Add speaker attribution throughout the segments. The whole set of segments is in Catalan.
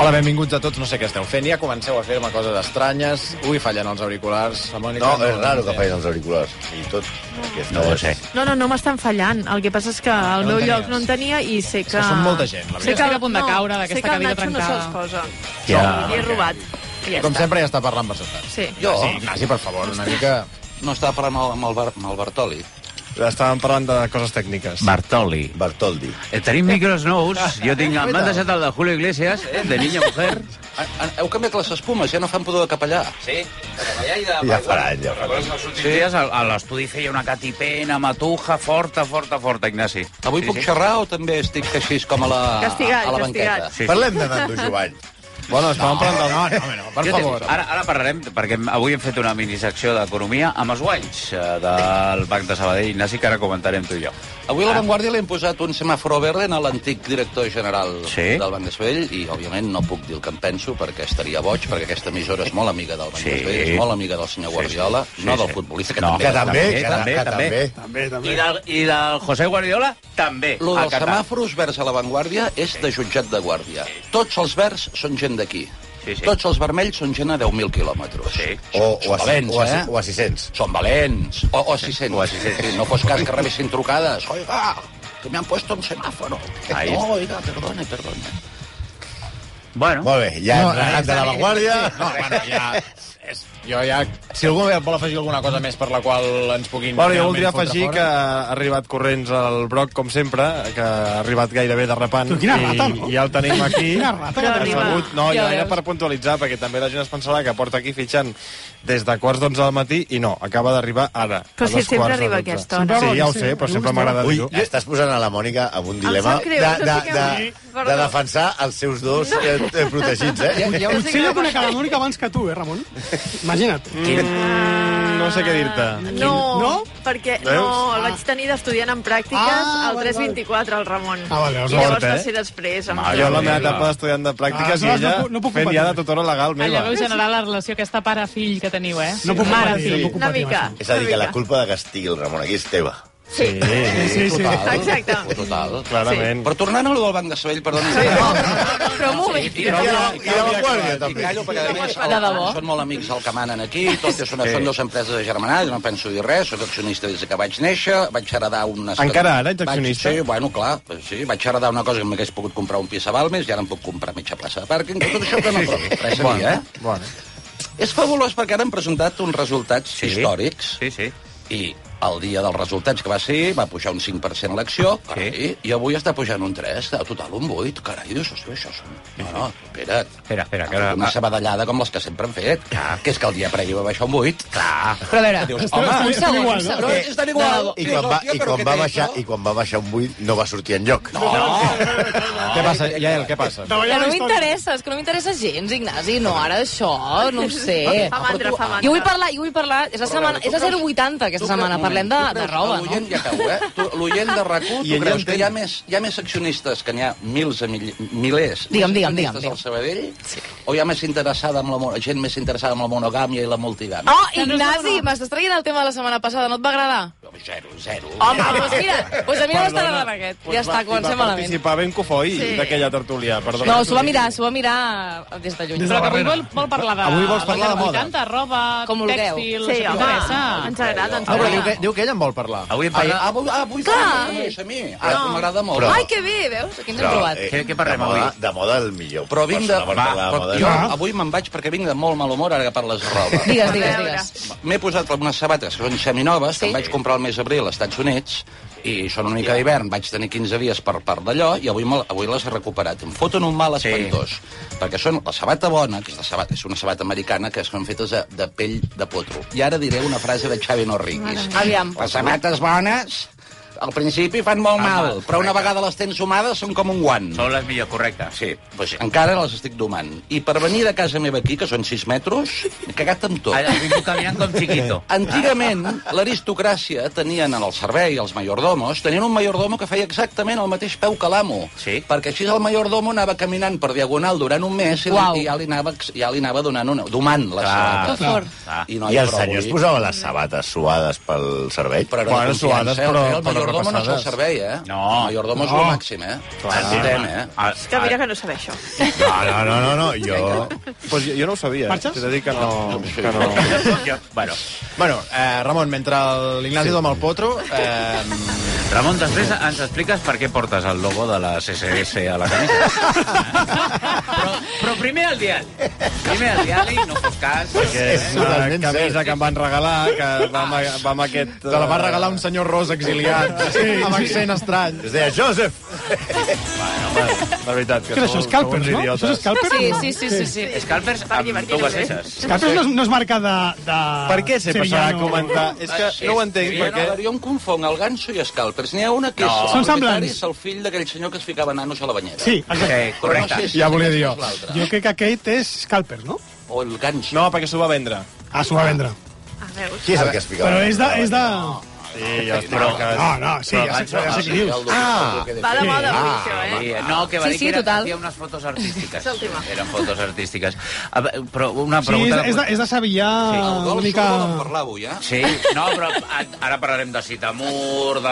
Speaker 1: Hola, benvinguts a tots. No sé què esteu fent. Ja comenceu a fer-me coses estranyes. Ui, fallen els auriculars. La Mònica
Speaker 2: No, és
Speaker 1: els
Speaker 2: raro que
Speaker 1: entén.
Speaker 2: fallin els auriculars. I tot...
Speaker 3: No ho sé.
Speaker 4: No, no, no m'estan fallant. El que passa és que al
Speaker 1: no
Speaker 4: meu
Speaker 1: en tenies.
Speaker 4: lloc no en tenia i sé que...
Speaker 1: que són molta gent, la veritat.
Speaker 5: Estic a punt de caure d'aquesta
Speaker 4: sé que el
Speaker 5: cadira
Speaker 4: Nacho
Speaker 5: trencada.
Speaker 4: no se'ls posa.
Speaker 3: Ja,
Speaker 4: I Li he robat. I ja
Speaker 1: Com
Speaker 4: està.
Speaker 1: sempre ja està parlant per sota.
Speaker 4: Sí.
Speaker 1: Jo? Sí, Ignasi, per favor, una mica...
Speaker 6: No estava parlant amb el, amb el, Bar- amb el Bartoli.
Speaker 7: Estàvem parlant de coses tècniques.
Speaker 3: Bartoli.
Speaker 2: Bartoldi.
Speaker 3: Eh, Tenim micros nous. Jo tinc... M'han deixat el de Julio Iglesias, eh, de Niña Mujer.
Speaker 6: A- a- Heu canviat les espumes, ja no fan pudor de capellà.
Speaker 3: Sí, de Capellà i de...
Speaker 2: Ja
Speaker 1: Ah,
Speaker 2: faran, ja faran.
Speaker 3: Els últims dies a a l'estudi feia una catipena, matuja, forta, forta, forta, Ignasi.
Speaker 6: Avui
Speaker 3: Sí,
Speaker 6: puc
Speaker 3: sí.
Speaker 6: xerrar o també estic així com a la,
Speaker 4: Castigat,
Speaker 6: a la
Speaker 4: castigat.
Speaker 6: banqueta?
Speaker 3: Sí, sí.
Speaker 2: Parlem de Nando Jovany.
Speaker 1: Bueno, estàvem parlant del... No, no, no, per
Speaker 3: Jo
Speaker 1: favor.
Speaker 3: Té, ara, ara parlarem, perquè avui hem fet una minisecció d'economia amb els guanys eh, del Banc de Sabadell, Ignasi, que ara comentarem tu i jo.
Speaker 6: Avui a la Vanguardia li han posat un semàforo verde a l'antic director general
Speaker 3: Sí.
Speaker 6: del Banc de Sabadell i, òbviament, no puc dir el que en penso perquè estaria boig, perquè aquesta emissora és molt amiga del Banc
Speaker 3: Sí.
Speaker 6: de Sabadell, és molt amiga del senyor
Speaker 3: Sí,
Speaker 6: Guardiola,
Speaker 3: sí,
Speaker 6: no
Speaker 3: sí,
Speaker 6: del
Speaker 3: sí.
Speaker 6: futbolista, que
Speaker 3: No,
Speaker 6: també.
Speaker 2: Que també, que
Speaker 3: també,
Speaker 2: també. Que
Speaker 3: també.
Speaker 2: també.
Speaker 3: I del, I del José Guardiola, també.
Speaker 6: Lo
Speaker 3: al
Speaker 6: dels
Speaker 3: Qatar.
Speaker 6: semàfors verds a la Vanguardia és de jutjat de guàrdia. Tots els verds són gent d'aquí.
Speaker 3: Sí, sí.
Speaker 6: Tots els vermells són gent a 10.000 quilòmetres.
Speaker 3: Sí.
Speaker 2: O, o, a,
Speaker 6: Són valents,
Speaker 2: o, a,
Speaker 6: eh?
Speaker 2: o a 600.
Speaker 6: Són valents. O, o 600.
Speaker 3: O a 600.
Speaker 6: Sí, no fos cas que rebessin trucades. Oiga, que me han puesto un semáforo.
Speaker 3: Ahí
Speaker 6: no,
Speaker 3: está.
Speaker 6: oiga, perdone, perdone.
Speaker 3: Bueno,
Speaker 2: Molt bé, ja
Speaker 1: No,
Speaker 2: hem anat de la vanguardia.
Speaker 1: No, bueno, ja... És, jo ja... Si algú vol afegir alguna cosa més per la qual ens puguin...
Speaker 7: Bueno, jo
Speaker 1: finalment
Speaker 7: voldria
Speaker 1: fotre
Speaker 7: afegir
Speaker 1: fora.
Speaker 7: que ha arribat corrents al Broc, com sempre, que ha arribat gairebé de repant.
Speaker 8: quina rata,
Speaker 7: i,
Speaker 8: no?
Speaker 7: I ja el tenim aquí.
Speaker 8: Quina rata que
Speaker 7: Ha
Speaker 4: tenim.
Speaker 7: Sabut, no, ja,
Speaker 5: Ja
Speaker 7: ja
Speaker 5: veus.
Speaker 7: per puntualitzar, perquè també la gent es pensarà que porta aquí fitxant des de quarts d'onze del matí i no, acaba d'arribar ara.
Speaker 4: Però
Speaker 7: a
Speaker 4: si
Speaker 7: dos
Speaker 4: sempre
Speaker 7: quarts de
Speaker 4: arriba a
Speaker 7: dotze.
Speaker 4: aquesta hora. ah.
Speaker 7: Sí, ja ho
Speaker 8: Sí,
Speaker 7: sé, però
Speaker 8: sí,
Speaker 7: sempre
Speaker 8: sí.
Speaker 7: m'agrada
Speaker 2: Ui,
Speaker 7: dir-ho.
Speaker 2: estàs posant a la Mònica amb un dilema
Speaker 4: sap greu,
Speaker 2: de,
Speaker 4: em
Speaker 2: de,
Speaker 4: sap
Speaker 2: de, de
Speaker 4: greu. Perdó.
Speaker 2: defensar els seus dos eh, eh, protegits, eh?
Speaker 8: Ja, potser jo conec a la Mònica abans que tu, eh, Ramon? Imagina't.
Speaker 7: Mm, no sé què dir-te.
Speaker 4: No, no,
Speaker 8: No?
Speaker 4: perquè no,
Speaker 7: Veus?
Speaker 4: el vaig tenir d'estudiant en pràctiques
Speaker 8: Ah,
Speaker 4: al
Speaker 8: vale,
Speaker 4: 324, el Ramon.
Speaker 8: Ah, vale, llavors
Speaker 4: I
Speaker 8: no
Speaker 4: llavors
Speaker 7: porta,
Speaker 4: va
Speaker 7: eh?
Speaker 4: ser després. Amb...
Speaker 3: Mare
Speaker 7: Jo la meva
Speaker 3: Mira.
Speaker 7: etapa d'estudiant de pràctiques
Speaker 8: Ah,
Speaker 7: i
Speaker 8: no,
Speaker 7: ella
Speaker 8: no puc- no puc
Speaker 7: fent ja de
Speaker 8: competir.
Speaker 7: tutora
Speaker 4: Ah,
Speaker 7: legal
Speaker 5: Allà
Speaker 7: meva.
Speaker 5: veu generar la relació aquesta pare-fill que teniu, eh?
Speaker 8: No puc competir,
Speaker 5: Mare-fill.
Speaker 8: no puc
Speaker 4: Una
Speaker 8: competir.
Speaker 4: mica.
Speaker 2: És a dir, que la
Speaker 4: Una mica.
Speaker 2: culpa de que estigui el Ramon aquí és teva.
Speaker 4: Sí.
Speaker 8: Sí, sí, sí.
Speaker 6: Total.
Speaker 4: Exacte.
Speaker 6: Total.
Speaker 7: Clarament.
Speaker 6: Però tornant a lo del Banc de Sabell, perdoni. Sí, no,
Speaker 4: Però un moment.
Speaker 6: I, no,
Speaker 2: la- i la Vanguardia, també.
Speaker 6: I callo, perquè, a més,
Speaker 5: De debò?
Speaker 6: són molt amics el que manen aquí, tot és una, són dues empreses agermanades, no penso dir res, soc accionista des que vaig néixer, vaig heredar una...
Speaker 7: Encara ara ets accionista?
Speaker 6: Vaig, sí, bueno, clar, pues sí, vaig heredar una cosa que m'hagués pogut comprar un pis a Balmes i ara em puc comprar mitja plaça de pàrquing, tot això que no trobo. Res a dir, eh?
Speaker 7: Bueno.
Speaker 6: És fabulós perquè ara han presentat uns resultats
Speaker 3: Sí.
Speaker 6: històrics
Speaker 3: sí, sí.
Speaker 6: i el dia dels resultats que va ser va pujar un 5% l'acció, carai, i avui està pujant un 3, a total un 8, carai, dius, hòstia, això és un... No, no, espera't.
Speaker 3: Espera, espera, que
Speaker 2: Ah,
Speaker 3: ara-
Speaker 6: Una sabadellada com les que sempre han fet, que és que el dia previ va baixar un 8. Clar.
Speaker 5: Però a veure,
Speaker 6: Dius,
Speaker 8: Estem-
Speaker 6: home,
Speaker 8: estem
Speaker 5: segon,
Speaker 8: igual,
Speaker 5: un
Speaker 8: no?
Speaker 5: segon.
Speaker 6: no, és tan igual.
Speaker 2: I quan va, i quan va, baixar, i quan va baixar un buit no va sortir en lloc. No.
Speaker 4: eh,
Speaker 1: Què passa, Jael, què passa?
Speaker 8: Treballar
Speaker 9: Que no
Speaker 8: la història.
Speaker 9: m'interessa, és que no m'interessa gens, Ignasi. No, ara això, no ho sé.
Speaker 4: Fa mandra, fa mandra.
Speaker 9: Jo vull parlar, jo vull parlar... És la, setmana, és la 080
Speaker 6: Tu
Speaker 9: aquesta
Speaker 6: creus-
Speaker 9: setmana,
Speaker 6: un
Speaker 9: parlem de,
Speaker 6: moment, tu
Speaker 9: de
Speaker 6: creus-
Speaker 9: roba, no?
Speaker 6: L'oient ja cau, eh? Tu- L'oient de rac
Speaker 7: I
Speaker 6: tu
Speaker 7: ell
Speaker 6: creus
Speaker 7: entén.
Speaker 6: que hi ha, més, hi ha més accionistes, que n'hi ha mils a mil, milers,
Speaker 9: Digue'm,
Speaker 6: més
Speaker 9: digue'm,
Speaker 6: accionistes
Speaker 9: digue'm,
Speaker 6: al Sabadell, o hi ha més interessada amb la, mo- gent més interessada amb la monogàmia i la multigàmia?
Speaker 9: Oh, Ignasi, m'estàs traient el tema de la setmana passada, no et va agradar?
Speaker 6: Oh. Zero, zero.
Speaker 9: Home, doncs mira, doncs a mi no m'està agradant aquest. Ja està,
Speaker 7: va
Speaker 9: comencem malament.
Speaker 7: participar ben cofoi
Speaker 4: Sí.
Speaker 7: d'aquella tertúlia, perdona.
Speaker 9: No, s'ho va mirar, s'ho va mirar des de lluny.
Speaker 5: Però que avui vol, vol parlar de...
Speaker 1: Avui vols parlar de moda.
Speaker 5: 80, roba,
Speaker 9: Com vulgueu.
Speaker 5: tèxtil,
Speaker 4: Sí,
Speaker 5: això
Speaker 4: home,
Speaker 5: t'interessa.
Speaker 4: ens agrada, ens
Speaker 1: Ah, però diu
Speaker 4: agrada.
Speaker 1: que, diu que ell en vol parlar.
Speaker 3: Avui em
Speaker 6: Ah,
Speaker 3: parla...
Speaker 6: ah, vull- ah, vull
Speaker 9: Clar.
Speaker 6: fer més a mi. Ah, M'agrada molt.
Speaker 2: Però-
Speaker 9: Ai, que bé, veus? Aquí ens hem trobat.
Speaker 3: Què- què parlem
Speaker 2: eh, de moda,
Speaker 3: avui?
Speaker 2: De moda el millor.
Speaker 6: Però vinc de...
Speaker 2: Persona per
Speaker 6: Va,
Speaker 2: parlar de
Speaker 6: però
Speaker 2: moda. eh?
Speaker 6: jo avui me'n vaig perquè vinc de molt mal humor ara que parles de roba.
Speaker 9: Digues,
Speaker 4: A
Speaker 9: digues,
Speaker 4: veure.
Speaker 9: digues.
Speaker 6: M'he posat unes sabates que són seminoves, sí. que
Speaker 9: Sí.
Speaker 6: em vaig comprar el mes d'abril als Estats Units, i són una mica d'hivern, vaig tenir 15 dies per part d'allò, i avui, me- avui les he recuperat. Em foten un mal
Speaker 3: Sí.
Speaker 6: espantós, perquè són la sabata bona, que és, la sabata, és una sabata americana, que són fetes de, de pell de potro. I ara diré una frase de Xavi Norriguis.
Speaker 9: Aviam.
Speaker 6: Les sabates bones al principi fan molt
Speaker 3: Fan
Speaker 6: mal,
Speaker 3: mal,
Speaker 6: però una
Speaker 3: correcte.
Speaker 6: vegada les tens domades són com un guant.
Speaker 3: Són les millors, correcte.
Speaker 6: Sí, doncs encara les estic domant. I per venir de casa meva aquí, que són 6 metres, he cagat amb tot.
Speaker 3: Ara, has vingut caminant com chiquito.
Speaker 6: Antigament, l'aristocràcia tenien en el servei, els mayordomos, tenien un mayordomo que feia exactament el mateix peu que l'amo.
Speaker 3: Sí.
Speaker 6: Perquè així el mayordomo anava caminant per diagonal durant un mes i,
Speaker 9: Uau.
Speaker 6: i ja, li anava, ja li anava donant una, domant la
Speaker 3: Clar.
Speaker 9: Que
Speaker 6: sabata.
Speaker 9: fort.
Speaker 3: Ah,
Speaker 6: I,
Speaker 2: I els
Speaker 6: però
Speaker 2: senyors
Speaker 6: avui-
Speaker 2: posaven les sabates suades pel servei?
Speaker 6: Però era
Speaker 7: Bueno,
Speaker 6: de confiança,
Speaker 7: suades,
Speaker 6: eh? El-
Speaker 7: però-
Speaker 6: El
Speaker 7: però
Speaker 6: mayordomo no és el
Speaker 7: repassades.
Speaker 6: servei, eh?
Speaker 3: No.
Speaker 6: El mayordomo és
Speaker 7: No.
Speaker 6: el màxim, eh?
Speaker 7: Clar.
Speaker 6: Escoltem, eh?
Speaker 3: Ah,
Speaker 4: És que mira que no saber això.
Speaker 2: No, no, no, no, no. jo...
Speaker 7: Pues jo, jo no ho sabia. eh.
Speaker 8: Marxes?
Speaker 7: T'he de dir que no...
Speaker 6: Sí.
Speaker 7: Que no.
Speaker 3: jo, bueno,
Speaker 1: Bueno, eh, Ramon, mentre el- l'Ignasi sí. doma el potro... Eh,
Speaker 3: Ramon, després ens expliques per què portes el logo de la CCS a la camisa. però, però primer el diari. Primer el diari, no fos cas. Perquè...
Speaker 2: És totalment
Speaker 7: una camisa
Speaker 2: cert.
Speaker 7: Ah, que em van regalar, que va amb, va amb aquest... eh,
Speaker 1: te la va regalar un senyor ros exiliat, sí, amb accent estrany.
Speaker 2: Es deia Joseph.
Speaker 7: De veritat, que,
Speaker 8: Què és això, Scalpers, no? Això és Scalpers?
Speaker 9: Sí, sí, sí, sí. sí.
Speaker 3: Scalpers
Speaker 4: Per
Speaker 3: amb
Speaker 4: divertir-ho,
Speaker 3: dues
Speaker 4: eh?
Speaker 3: esses.
Speaker 8: Scalpers no, és- no és marca de... de...
Speaker 7: Per què se passarà a
Speaker 8: Sevillano.
Speaker 7: comentar? És que no ho entenc,
Speaker 6: Sí,
Speaker 7: perquè...
Speaker 6: no, jo em confong el ganso i Scalpers. N'hi ha una que
Speaker 3: No.
Speaker 6: és...
Speaker 8: Són semblants.
Speaker 6: És el fill d'aquell senyor que es ficava nanos a la banyera.
Speaker 8: Sí, exacte.
Speaker 3: Sí, correcte.
Speaker 6: Però no sé si
Speaker 1: Ja volia dir jo.
Speaker 6: és l'altre.
Speaker 8: Jo crec que aquest és Scalpers, no?
Speaker 6: O el ganso.
Speaker 7: No, perquè s'ho va vendre.
Speaker 8: Ah, s'ho va vendre.
Speaker 4: A veus?
Speaker 2: Qui és el que es fica?
Speaker 8: Però és de... És de...
Speaker 7: Sí, ja estic però,
Speaker 8: No, no, sí,
Speaker 7: Però
Speaker 8: ja sé, ja sé
Speaker 6: Sí,
Speaker 8: qui dius.
Speaker 6: el doctor que de-
Speaker 4: Va de moda, avui, això, eh?
Speaker 3: Sí, Ah, no, que va
Speaker 9: Sí,
Speaker 3: dir
Speaker 9: sí,
Speaker 3: que era,
Speaker 9: total.
Speaker 3: hi ha unes fotos artístiques.
Speaker 4: És el tema.
Speaker 3: Eren fotos artístiques. A ve- Però
Speaker 8: Sí,
Speaker 3: una
Speaker 8: és,
Speaker 3: pregunta...
Speaker 8: és, de, és de Sevillà
Speaker 6: El
Speaker 8: una
Speaker 6: gol
Speaker 8: mica...
Speaker 6: surt de parlar avui, eh?
Speaker 3: Sí, no, però a- ara parlarem de Citamur, de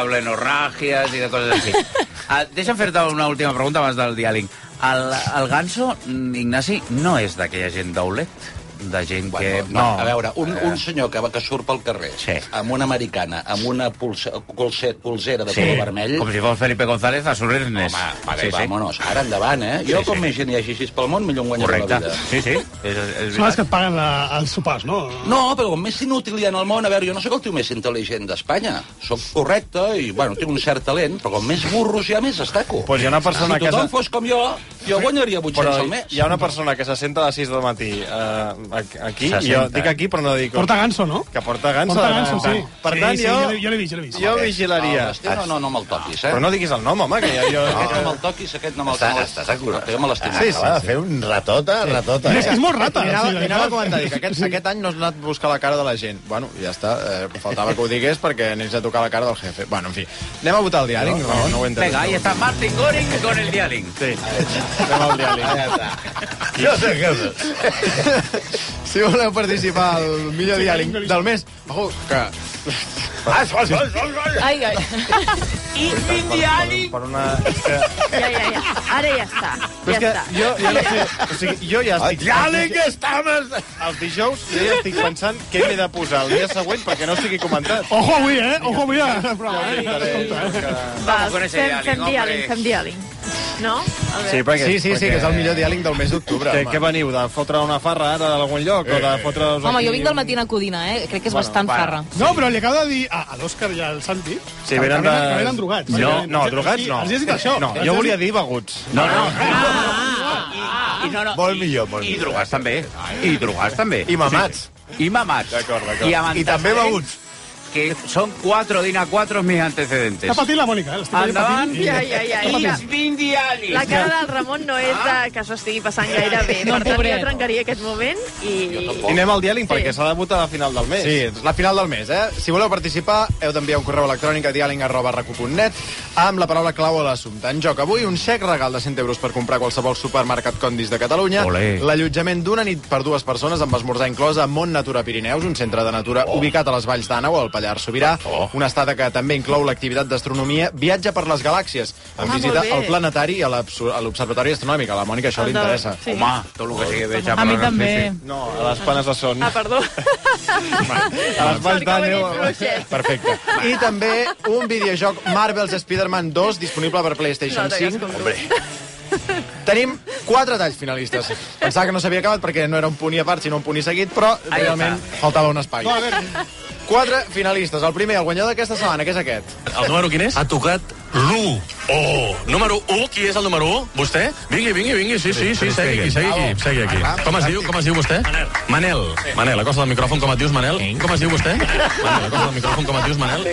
Speaker 3: blenorràgies i de coses així. Uh, deixa'm fer-te una última pregunta abans del diàleg. El, el ganso, mm, Ignasi, no és d'aquella gent d'Aulet? De gent que...
Speaker 6: Bueno, no, a veure, un, un senyor que, va, que surt pel carrer
Speaker 3: Sí.
Speaker 6: amb una americana, amb una pulse, colset, pulsera de
Speaker 3: Sí,
Speaker 6: color vermell...
Speaker 3: com si fos Felipe González a Sorrennes.
Speaker 6: Home, paga sí, sí. vámonos, ara endavant, eh? Jo,
Speaker 3: Sí,
Speaker 6: com
Speaker 3: sí.
Speaker 6: més gent hi hagi així pel món, millor em guanyaré
Speaker 3: Correcte.
Speaker 6: la vida.
Speaker 3: Sí, sí. És, és
Speaker 8: Són les que
Speaker 3: veritat.
Speaker 8: et paguen la, els sopars, no?
Speaker 6: No, però com més inútil hi ha en el món... A veure, jo no sóc el tio més intel·ligent d'Espanya. Sóc correcte i, bueno, tinc un cert talent, però com més burros hi ha, més estaco.
Speaker 7: Pues hi ha una persona
Speaker 6: si
Speaker 7: a
Speaker 6: tothom
Speaker 7: casa-
Speaker 6: fos com jo, jo guanyaria 800
Speaker 7: Però
Speaker 6: al mes.
Speaker 7: hi ha una persona que se senta a les 6 del matí eh, aquí,
Speaker 3: Se
Speaker 7: i jo
Speaker 3: senta.
Speaker 7: dic aquí, però no dic... on.
Speaker 8: Porta ganso, no?
Speaker 7: Que porta ganso.
Speaker 8: Porta
Speaker 7: de tant en
Speaker 8: ganso, sí.
Speaker 7: tant. Per
Speaker 8: Sí,
Speaker 7: tant,
Speaker 8: sí,
Speaker 7: jo...
Speaker 8: jo l'he- jo l'he vist, jo l'he vist.
Speaker 7: Jo
Speaker 2: Home,
Speaker 7: vigilaria.
Speaker 1: Ah,
Speaker 6: No, Basté, no, no, no me'l toquis, eh?
Speaker 7: Però no diguis el nom, home, que ja jo...
Speaker 6: Aquest no me'l toquis, aquest no me'l
Speaker 2: Està-
Speaker 6: toquis.
Speaker 2: estàs acurat.
Speaker 6: Jo me l'estim.
Speaker 2: Sí, sí, Acaba de fer un ratota, ratota. eh?
Speaker 8: És, que és molt rata.
Speaker 1: Mirava,
Speaker 8: o sigui,
Speaker 1: mirava
Speaker 8: clar.
Speaker 1: com et dic, aquest, aquest any no has anat a buscar la cara de la gent. Bueno, ja està, eh, faltava que ho digués perquè anés a tocar la cara del jefe. Bueno, en fi, anem a votar el diàleg.
Speaker 7: No, no ho he entès.
Speaker 3: Venga, ahí está Martin Goring con el dialing.
Speaker 7: Sí, anem al diàleg.
Speaker 2: Joseph Goebbels.
Speaker 1: Si voleu participar al millor diàleg del mes, ojo, que...
Speaker 9: Ai, ai.
Speaker 7: Per una... és que-
Speaker 4: Ja, ja, ja. Ara ja està.
Speaker 7: Però
Speaker 4: Ja
Speaker 7: és que
Speaker 4: està.
Speaker 7: jo, jo no sé... O sigui, jo ja
Speaker 1: Ah,
Speaker 2: El
Speaker 7: estic...
Speaker 2: diàleg està... mas-
Speaker 7: Els dijous jo ja estic pensant què m'he de posar el dia següent perquè no estigui comentat.
Speaker 8: Ojo avui, eh? Ojo avui a la prova, eh? Escolta, eh?
Speaker 7: Sí,
Speaker 4: Va,
Speaker 3: Vamos con ese
Speaker 4: fem,
Speaker 3: diàleg,
Speaker 4: fem
Speaker 3: hombre.
Speaker 4: diàleg, fem diàleg. No? A veure.
Speaker 7: perquè...
Speaker 1: Sí, sí, sí,
Speaker 7: perquè-
Speaker 1: que és el millor diàleg del mes d'octubre.
Speaker 7: Que,
Speaker 1: home. Eh,
Speaker 7: que veniu, de fotre una farra ara d'algun lloc? o de fotre...
Speaker 9: Home, jo vinc del matí a Codina, eh? Crec que és bastant farra.
Speaker 8: No, però li acabo de dir a, a l'Òscar i al Santi
Speaker 7: Sí,
Speaker 8: que,
Speaker 7: venen
Speaker 8: que,
Speaker 7: de-
Speaker 8: que venen drogats.
Speaker 7: No,
Speaker 8: bàsicament.
Speaker 7: no,
Speaker 8: Els he-
Speaker 7: drogats
Speaker 8: sí,
Speaker 7: no.
Speaker 8: Els he dit això.
Speaker 7: No,
Speaker 8: Els he
Speaker 7: jo
Speaker 8: dit-
Speaker 7: volia dir beguts.
Speaker 3: No, no. I, i, no, no.
Speaker 2: Molt millor, molt
Speaker 3: I
Speaker 2: millor.
Speaker 3: drogats també. I drogats també.
Speaker 2: I mamats.
Speaker 3: Sí. I mamats.
Speaker 7: D'acord, d'acord.
Speaker 3: I, amb
Speaker 2: I també
Speaker 3: antecedents,
Speaker 2: beguts.
Speaker 3: Que són 4 din a 4 mis antecedentes.
Speaker 8: Està patint la Mònica, eh? L'estic veient
Speaker 3: Endavant.
Speaker 8: patint.
Speaker 4: Ja, ja, ja. I la,
Speaker 3: Vindiali.
Speaker 4: la cara del Ramon no és de que s'ho estigui passant gaire bé.
Speaker 5: No,
Speaker 4: Per tant,
Speaker 5: pobret.
Speaker 4: jo trencaria aquest moment i...
Speaker 7: I anem al diàleg perquè
Speaker 4: Sí.
Speaker 7: s'ha de votar a la final del mes.
Speaker 1: Sí, és la final del mes, eh? Si voleu participar, heu d'enviar un correu electrònic a dialing.net amb la paraula clau a l'assumpte. En joc avui, un xec regal de 100 euros per comprar qualsevol supermercat Condis de Catalunya,
Speaker 3: Olé.
Speaker 1: l'allotjament d'una nit per dues persones amb esmorzar inclòs a Mont Natura Pirineus, un centre de natura
Speaker 4: Oh.
Speaker 1: ubicat a les valls d'Àneu, al Pallars Sobirà, una estada que també inclou l'activitat d'astronomia Viatge per les Galàxies, amb
Speaker 4: Ah,
Speaker 1: visita
Speaker 4: molt bé.
Speaker 1: al planetari i a l'abs- a l'observatori astronòmic. A la Mònica això li
Speaker 4: El de-
Speaker 1: interessa.
Speaker 4: Sí.
Speaker 3: Home, tot el que sigui bé, ja,
Speaker 5: A mi també.
Speaker 7: No, a les panes de son.
Speaker 4: Ah, perdó.
Speaker 7: A les valls d'Àneu.
Speaker 1: Perfecte. I també un videojoc Marvel's Spider-Man 2 disponible per PlayStation 5. Tenim quatre talls finalistes. Pensava que no s'havia acabat perquè no era un punt i a part, sinó un punt i seguit, però
Speaker 3: Ahí
Speaker 1: realment faltava un espai. Quatre finalistes. El primer, el guanyador d'aquesta setmana, que és aquest.
Speaker 7: El número quin és?
Speaker 10: Ha tocat l'1. Oh, número 1, qui és el número 1? Vostè? Vingui, vingui, vingui, sí, sí, sí, segui aquí, segui aquí, segui aquí. Com es diu, com es diu vostè? Manel. Manel, acosta el micròfon, com et dius, Manel? Com es diu vostè? Manel, acosta el micròfon, com et dius, Manel?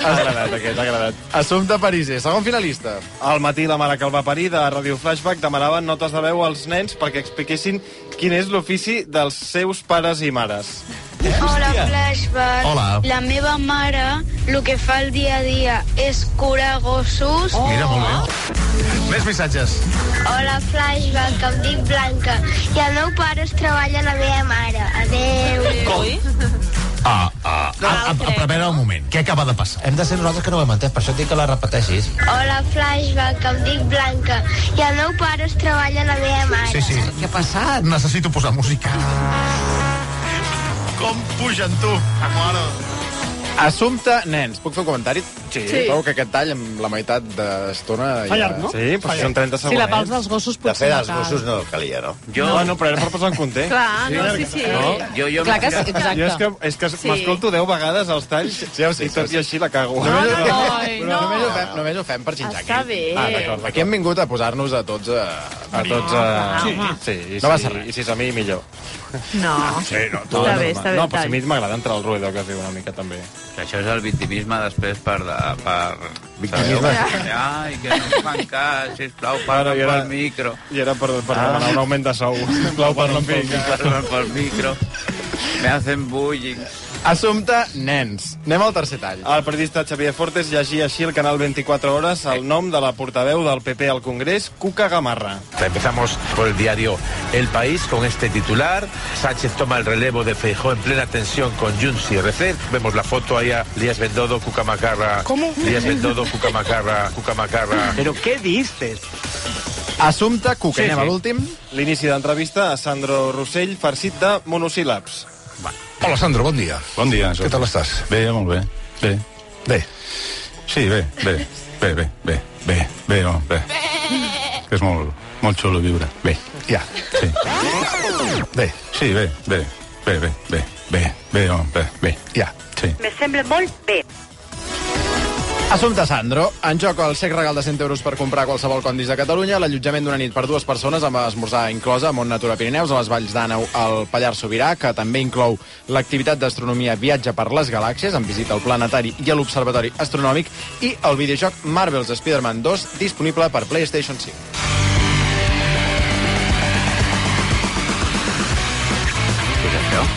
Speaker 7: Ha agradat aquest, ha agradat.
Speaker 1: Assumpte Pariser, segon finalista.
Speaker 7: Al matí la mare que el va parir de Radio Flashback demanaven notes de veu als nens perquè expliquessin quin és l'ofici dels seus pares i mares.
Speaker 11: Hola, Flashback.
Speaker 7: Hola.
Speaker 11: La meva mare, el que fa el dia a dia és curar gossos. Oh.
Speaker 10: Mira, molt bé. Més missatges.
Speaker 11: Hola, Flashback, em dic Blanca. I el meu pare es treballa la meva mare. Adéu.
Speaker 12: Ah, ah, ah, a, a, veure un moment, què acaba de passar? Hem de ser nosaltres que no ho hem entès, per això et dic que la repeteixis.
Speaker 11: Hola, Flashback, em dic Blanca. I el meu pare es treballa la meva mare.
Speaker 12: Sí, sí. Què ha passat? Necessito posar música.
Speaker 7: Com pugen tu, mare.
Speaker 1: Assumpte, nens, puc fer un comentari?
Speaker 7: Sí.
Speaker 5: Sí.
Speaker 1: Trobo que aquest tall amb la meitat d'estona...
Speaker 5: Fa llarg, no?
Speaker 1: Sí, però
Speaker 5: Fa
Speaker 1: són
Speaker 5: llarg.
Speaker 1: 30
Speaker 5: Sí, la
Speaker 1: segons.
Speaker 5: pausa dels gossos potser
Speaker 1: fer
Speaker 5: no
Speaker 1: dels
Speaker 5: cal.
Speaker 1: gossos
Speaker 2: No, calia, no?
Speaker 7: eh? Jo... Ah, No, no, però era per posar en context.
Speaker 5: Clar, no, sí, sí.
Speaker 7: No?
Speaker 5: Jo- jo- Clar que sí, exacte.
Speaker 7: Jo és que, és que
Speaker 5: Sí.
Speaker 7: m'escolto 10 vegades els talls sí, sí, i tot i així la cago.
Speaker 1: No, no, no,
Speaker 4: Ai,
Speaker 1: Però
Speaker 4: no.
Speaker 1: només ho fem, només ho fem per xinxar
Speaker 4: Està bé.
Speaker 1: Ah, d'acord, aquí hem vingut a posar-nos a tots... eh, A,
Speaker 7: A tots... Uh...
Speaker 4: Sí.
Speaker 7: Sí, sí, i
Speaker 1: No
Speaker 7: si-
Speaker 1: va ser res.
Speaker 7: I si és a mi, millor.
Speaker 4: No.
Speaker 7: Sí, Eh, no,
Speaker 4: Està bé, està bé,
Speaker 7: No,
Speaker 4: el
Speaker 7: però si a
Speaker 4: tall.
Speaker 7: mi m'agrada entrar al ruedo, que es diu una mica, també.
Speaker 3: Que això és el victimisme després per... De, per
Speaker 7: Victimisme.
Speaker 3: Sabeu? Ai, que no fan cas, sisplau, para
Speaker 7: i ara-
Speaker 3: pel micro.
Speaker 7: I era per, per demanar un augment de sou. Ah. Sisplau, per no
Speaker 3: Pel micro, Para pel micro. Me hacen bullying.
Speaker 1: Assumpte, nens. Anem al tercer tall.
Speaker 7: El periodista Xavier Fortes llegia així al canal 24 Hores el nom de la portaveu del PP al Congrés, Cuca Gamarra.
Speaker 13: Empezamos por el diario El País con este titular. Sánchez toma el relevo de Feijó en plena tensión con Junts y RC. Vemos la foto ahí a Lías Bendodo, Cuca Macarra.
Speaker 1: ¿Cómo?
Speaker 13: Lías Bendodo, Cuca Macarra, Cuca Macarra.
Speaker 1: Però què dices? Assumpte, Cuca, sí, anem sí. a l'últim.
Speaker 7: L'inici d'entrevista a Sandro Rossell farcit de monosíl·labs.
Speaker 14: Hola, Sandro, bon dia.
Speaker 15: Bon dia.
Speaker 14: Què tal estàs?
Speaker 15: Bé, molt bé. Bé.
Speaker 14: Bé.
Speaker 15: Sí, bé, bé. Bé, bé, bé, bé, bé, no, bé. Que és molt, molt xulo viure. Bé.
Speaker 14: Ja.
Speaker 15: Sí.
Speaker 14: Bé.
Speaker 15: Sí, bé, bé, bé, bé, bé, bé, bé, no, bé, bé.
Speaker 14: Ja.
Speaker 15: Sí.
Speaker 16: Me sembla molt bé.
Speaker 1: Assumpte Sandro, en joc el sec regal de 100 euros per comprar qualsevol condis de Catalunya, l'allotjament d'una nit per dues persones amb esmorzar inclosa a Mont Natura Pirineus, a les Valls d'Àneu, al Pallars Sobirà, que també inclou l'activitat d'astronomia Viatge per les Galàxies, amb visita al Planetari i a l'Observatori Astronòmic, i el videojoc Marvel's Spider-Man 2, disponible per PlayStation 5.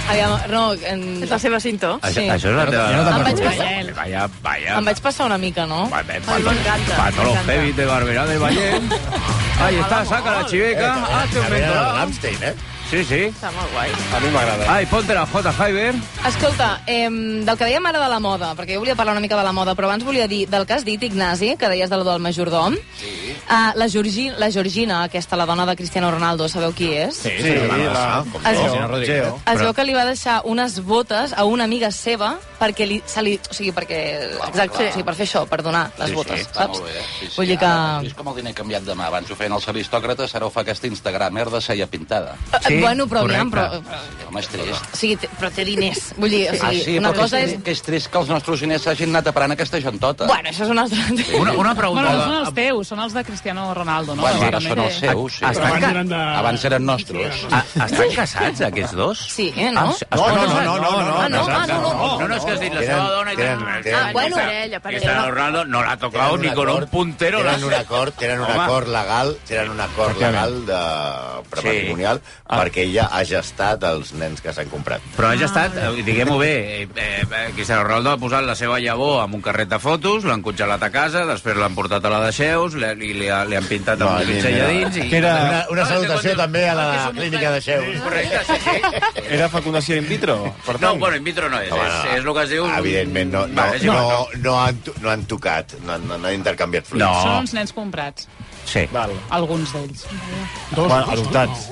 Speaker 9: Aviam, no... En... És
Speaker 4: la seva cintó?
Speaker 3: Això, això és la teva...
Speaker 9: Em vaig passar,
Speaker 3: Vaya, vaya.
Speaker 9: em vaig passar una mica, no?
Speaker 4: m'encanta.
Speaker 3: Para todos los heavy de Barberá del Valle. Ahí está, saca la chiveca,
Speaker 12: Ah,
Speaker 3: hazte un mentolado.
Speaker 2: eh?
Speaker 3: Sí, sí.
Speaker 9: Està molt guai.
Speaker 7: A mi m'agrada.
Speaker 3: Ai, ponte la J, Jaiber.
Speaker 9: Escolta, eh, del que dèiem ara de la moda, perquè jo volia parlar una mica de la moda, però abans volia dir del que has dit, Ignasi, que deies de lo del majordom. Sí. Uh, la, Georgi, la Georgina, aquesta, la dona de Cristiano Ronaldo, sabeu qui és?
Speaker 1: Sí, sí, la- com
Speaker 9: es,
Speaker 1: no,
Speaker 9: veu,
Speaker 1: Geo. Rodríguez.
Speaker 9: es veu que li va deixar unes botes a una amiga seva perquè li, se li, o sigui, perquè, exacte,
Speaker 6: clar.
Speaker 9: o sigui, per fer això, per donar les
Speaker 6: sí,
Speaker 9: botes,
Speaker 6: sí, està
Speaker 9: saps?
Speaker 6: molt bé. Sí, sí.
Speaker 9: Vull dir
Speaker 6: Ara,
Speaker 9: que-
Speaker 6: És com el diner canviat de mà. Abans ho feien els aristòcrates, ara ho fa aquesta Instagramer de cella pintada.
Speaker 9: Sí, Eh, bueno, però aviam, correcte.
Speaker 6: però... Home, és trist.
Speaker 9: O sigui, té, però té diners. Vull dir, o
Speaker 6: Ah,
Speaker 9: sigui,
Speaker 6: sí,
Speaker 9: una
Speaker 6: però
Speaker 9: cosa
Speaker 6: que
Speaker 9: és...
Speaker 6: Que és trist que els nostres diners s'hagin anat a parar en aquesta gentota.
Speaker 9: Bueno, això és una altra...
Speaker 6: Una, una
Speaker 5: Bueno, no són els teus, són els de Cristiano Ronaldo, no?
Speaker 6: Bueno, ara
Speaker 5: Segurament.
Speaker 6: són els seus, sí.
Speaker 3: Estan Però abans ca- eren Ah,
Speaker 6: Abans eren nostres. Ah,
Speaker 3: Estan casats, aquests dos?
Speaker 9: Sí, eh, no?
Speaker 3: Ah, no, no, no, no, no, no,
Speaker 9: Ah, no, ah,
Speaker 3: casats,
Speaker 9: no, no.
Speaker 3: no. No, no, és que has dit la seva dona i tal.
Speaker 9: Ah, bueno,
Speaker 4: parella,
Speaker 3: Cristiano Ronaldo no l'ha tocado ni con un puntero.
Speaker 2: Tenen
Speaker 3: l'ha-
Speaker 2: un acord, tenen un
Speaker 3: Home.
Speaker 2: acord legal, tenen un acord legal de prematrimonial perquè ella ha gestat els nens que s'han comprat.
Speaker 3: Però ha estat, eh, diguem-ho bé, eh, eh, Cristiano Ronaldo ha posat la seva llavor en un carret de fotos, l'han congelat a casa, després l'han portat a la de Xeus, li, li, li, ha- li han pintat amb un pinzell a dins... I...
Speaker 2: Que Doncs era una, una salutació també a la
Speaker 3: Ah, que som un
Speaker 2: clínica de Xeus.
Speaker 7: Era fecundació in vitro, per
Speaker 3: No,
Speaker 7: tant.
Speaker 3: bueno, in vitro no és,
Speaker 2: Home,
Speaker 3: és, és el que es diu...
Speaker 2: Ah, Evidentment, no, no,
Speaker 3: Vale, sí,
Speaker 2: no,
Speaker 3: no.
Speaker 2: no, han, to- no han tocat, no, han- no, han intercanviat fluids.
Speaker 5: Són uns nens comprats,
Speaker 3: Sí.
Speaker 7: Val.
Speaker 5: alguns d'ells.
Speaker 7: Bueno, adoptats.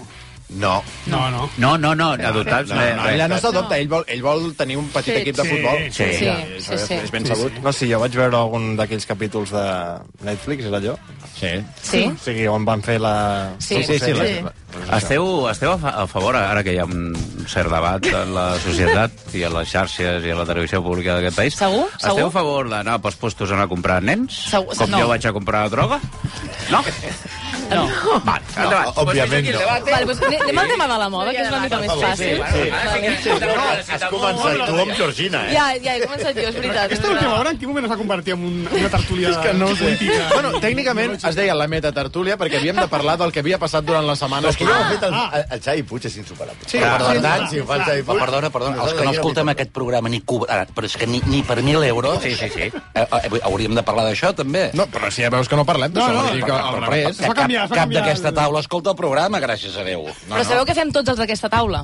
Speaker 2: No.
Speaker 8: No, no.
Speaker 3: No, no, no,
Speaker 2: adoptats,
Speaker 1: No,
Speaker 2: res,
Speaker 1: no,
Speaker 2: res,
Speaker 1: allà no
Speaker 2: res.
Speaker 1: s'adopta, ell, vol, ell vol tenir un petit
Speaker 2: Sí.
Speaker 1: equip de
Speaker 2: Sí.
Speaker 1: futbol.
Speaker 2: Sí. Sí,
Speaker 1: és,
Speaker 2: sí, sí.
Speaker 1: és ben
Speaker 2: Sí,
Speaker 1: sabut.
Speaker 2: sí.
Speaker 7: No, sí, jo vaig veure algun d'aquells capítols de Netflix, era allò?
Speaker 1: Sí.
Speaker 9: Sí.
Speaker 7: O sigui, on van fer la...
Speaker 9: Sí, sí, sí, sí.
Speaker 3: Esteu, esteu a, fa, a favor, ara que hi ha un cert debat en la societat i a les xarxes i a la televisió pública d'aquest país?
Speaker 9: Segur?
Speaker 3: Esteu
Speaker 9: Segur?
Speaker 3: a favor d'anar pels postos a anar a comprar nens?
Speaker 9: Segur-
Speaker 3: Com
Speaker 9: no.
Speaker 3: jo vaig a comprar droga? No? No. Vale, endavant.
Speaker 2: No, òbviament
Speaker 3: Pues
Speaker 2: no.
Speaker 3: deixa aquí el eh?
Speaker 9: Vale, doncs anem anem al tema de la moda, que és una mica més fàcil.
Speaker 2: Has començat tu amb Georgina, eh?
Speaker 9: Ja, ja, he començat jo, és veritat.
Speaker 8: Aquesta última hora en quin moment es va convertir en un, una tertúlia
Speaker 1: És que no ho sé.
Speaker 8: política?
Speaker 1: Bueno, tècnicament es deia la meta tertúlia perquè havíem de parlar del que havia passat durant la setmana.
Speaker 2: Però és que ja ho ha fet el, el Xavi Puig, és insuperable.
Speaker 1: Sí,
Speaker 2: per
Speaker 1: sí,
Speaker 2: tant,
Speaker 1: sí.
Speaker 2: si ho fa el Xavi Puig...
Speaker 6: Perdona, perdona, els que no escoltem aquest programa ni cobrat, però és que ni, ni per 1.000 euros... Sí, sí, sí. Eh, eh, hauríem de parlar d'això, també.
Speaker 1: No, però si ja veus que no parlem
Speaker 6: No,
Speaker 9: Ah,
Speaker 1: d'això,
Speaker 6: no,
Speaker 1: vull dir que al revés.
Speaker 6: Cap, cap, cap d'aquesta taula escolta el programa, gràcies a Déu. No,
Speaker 9: Però sabeu què fem tots els d'aquesta taula?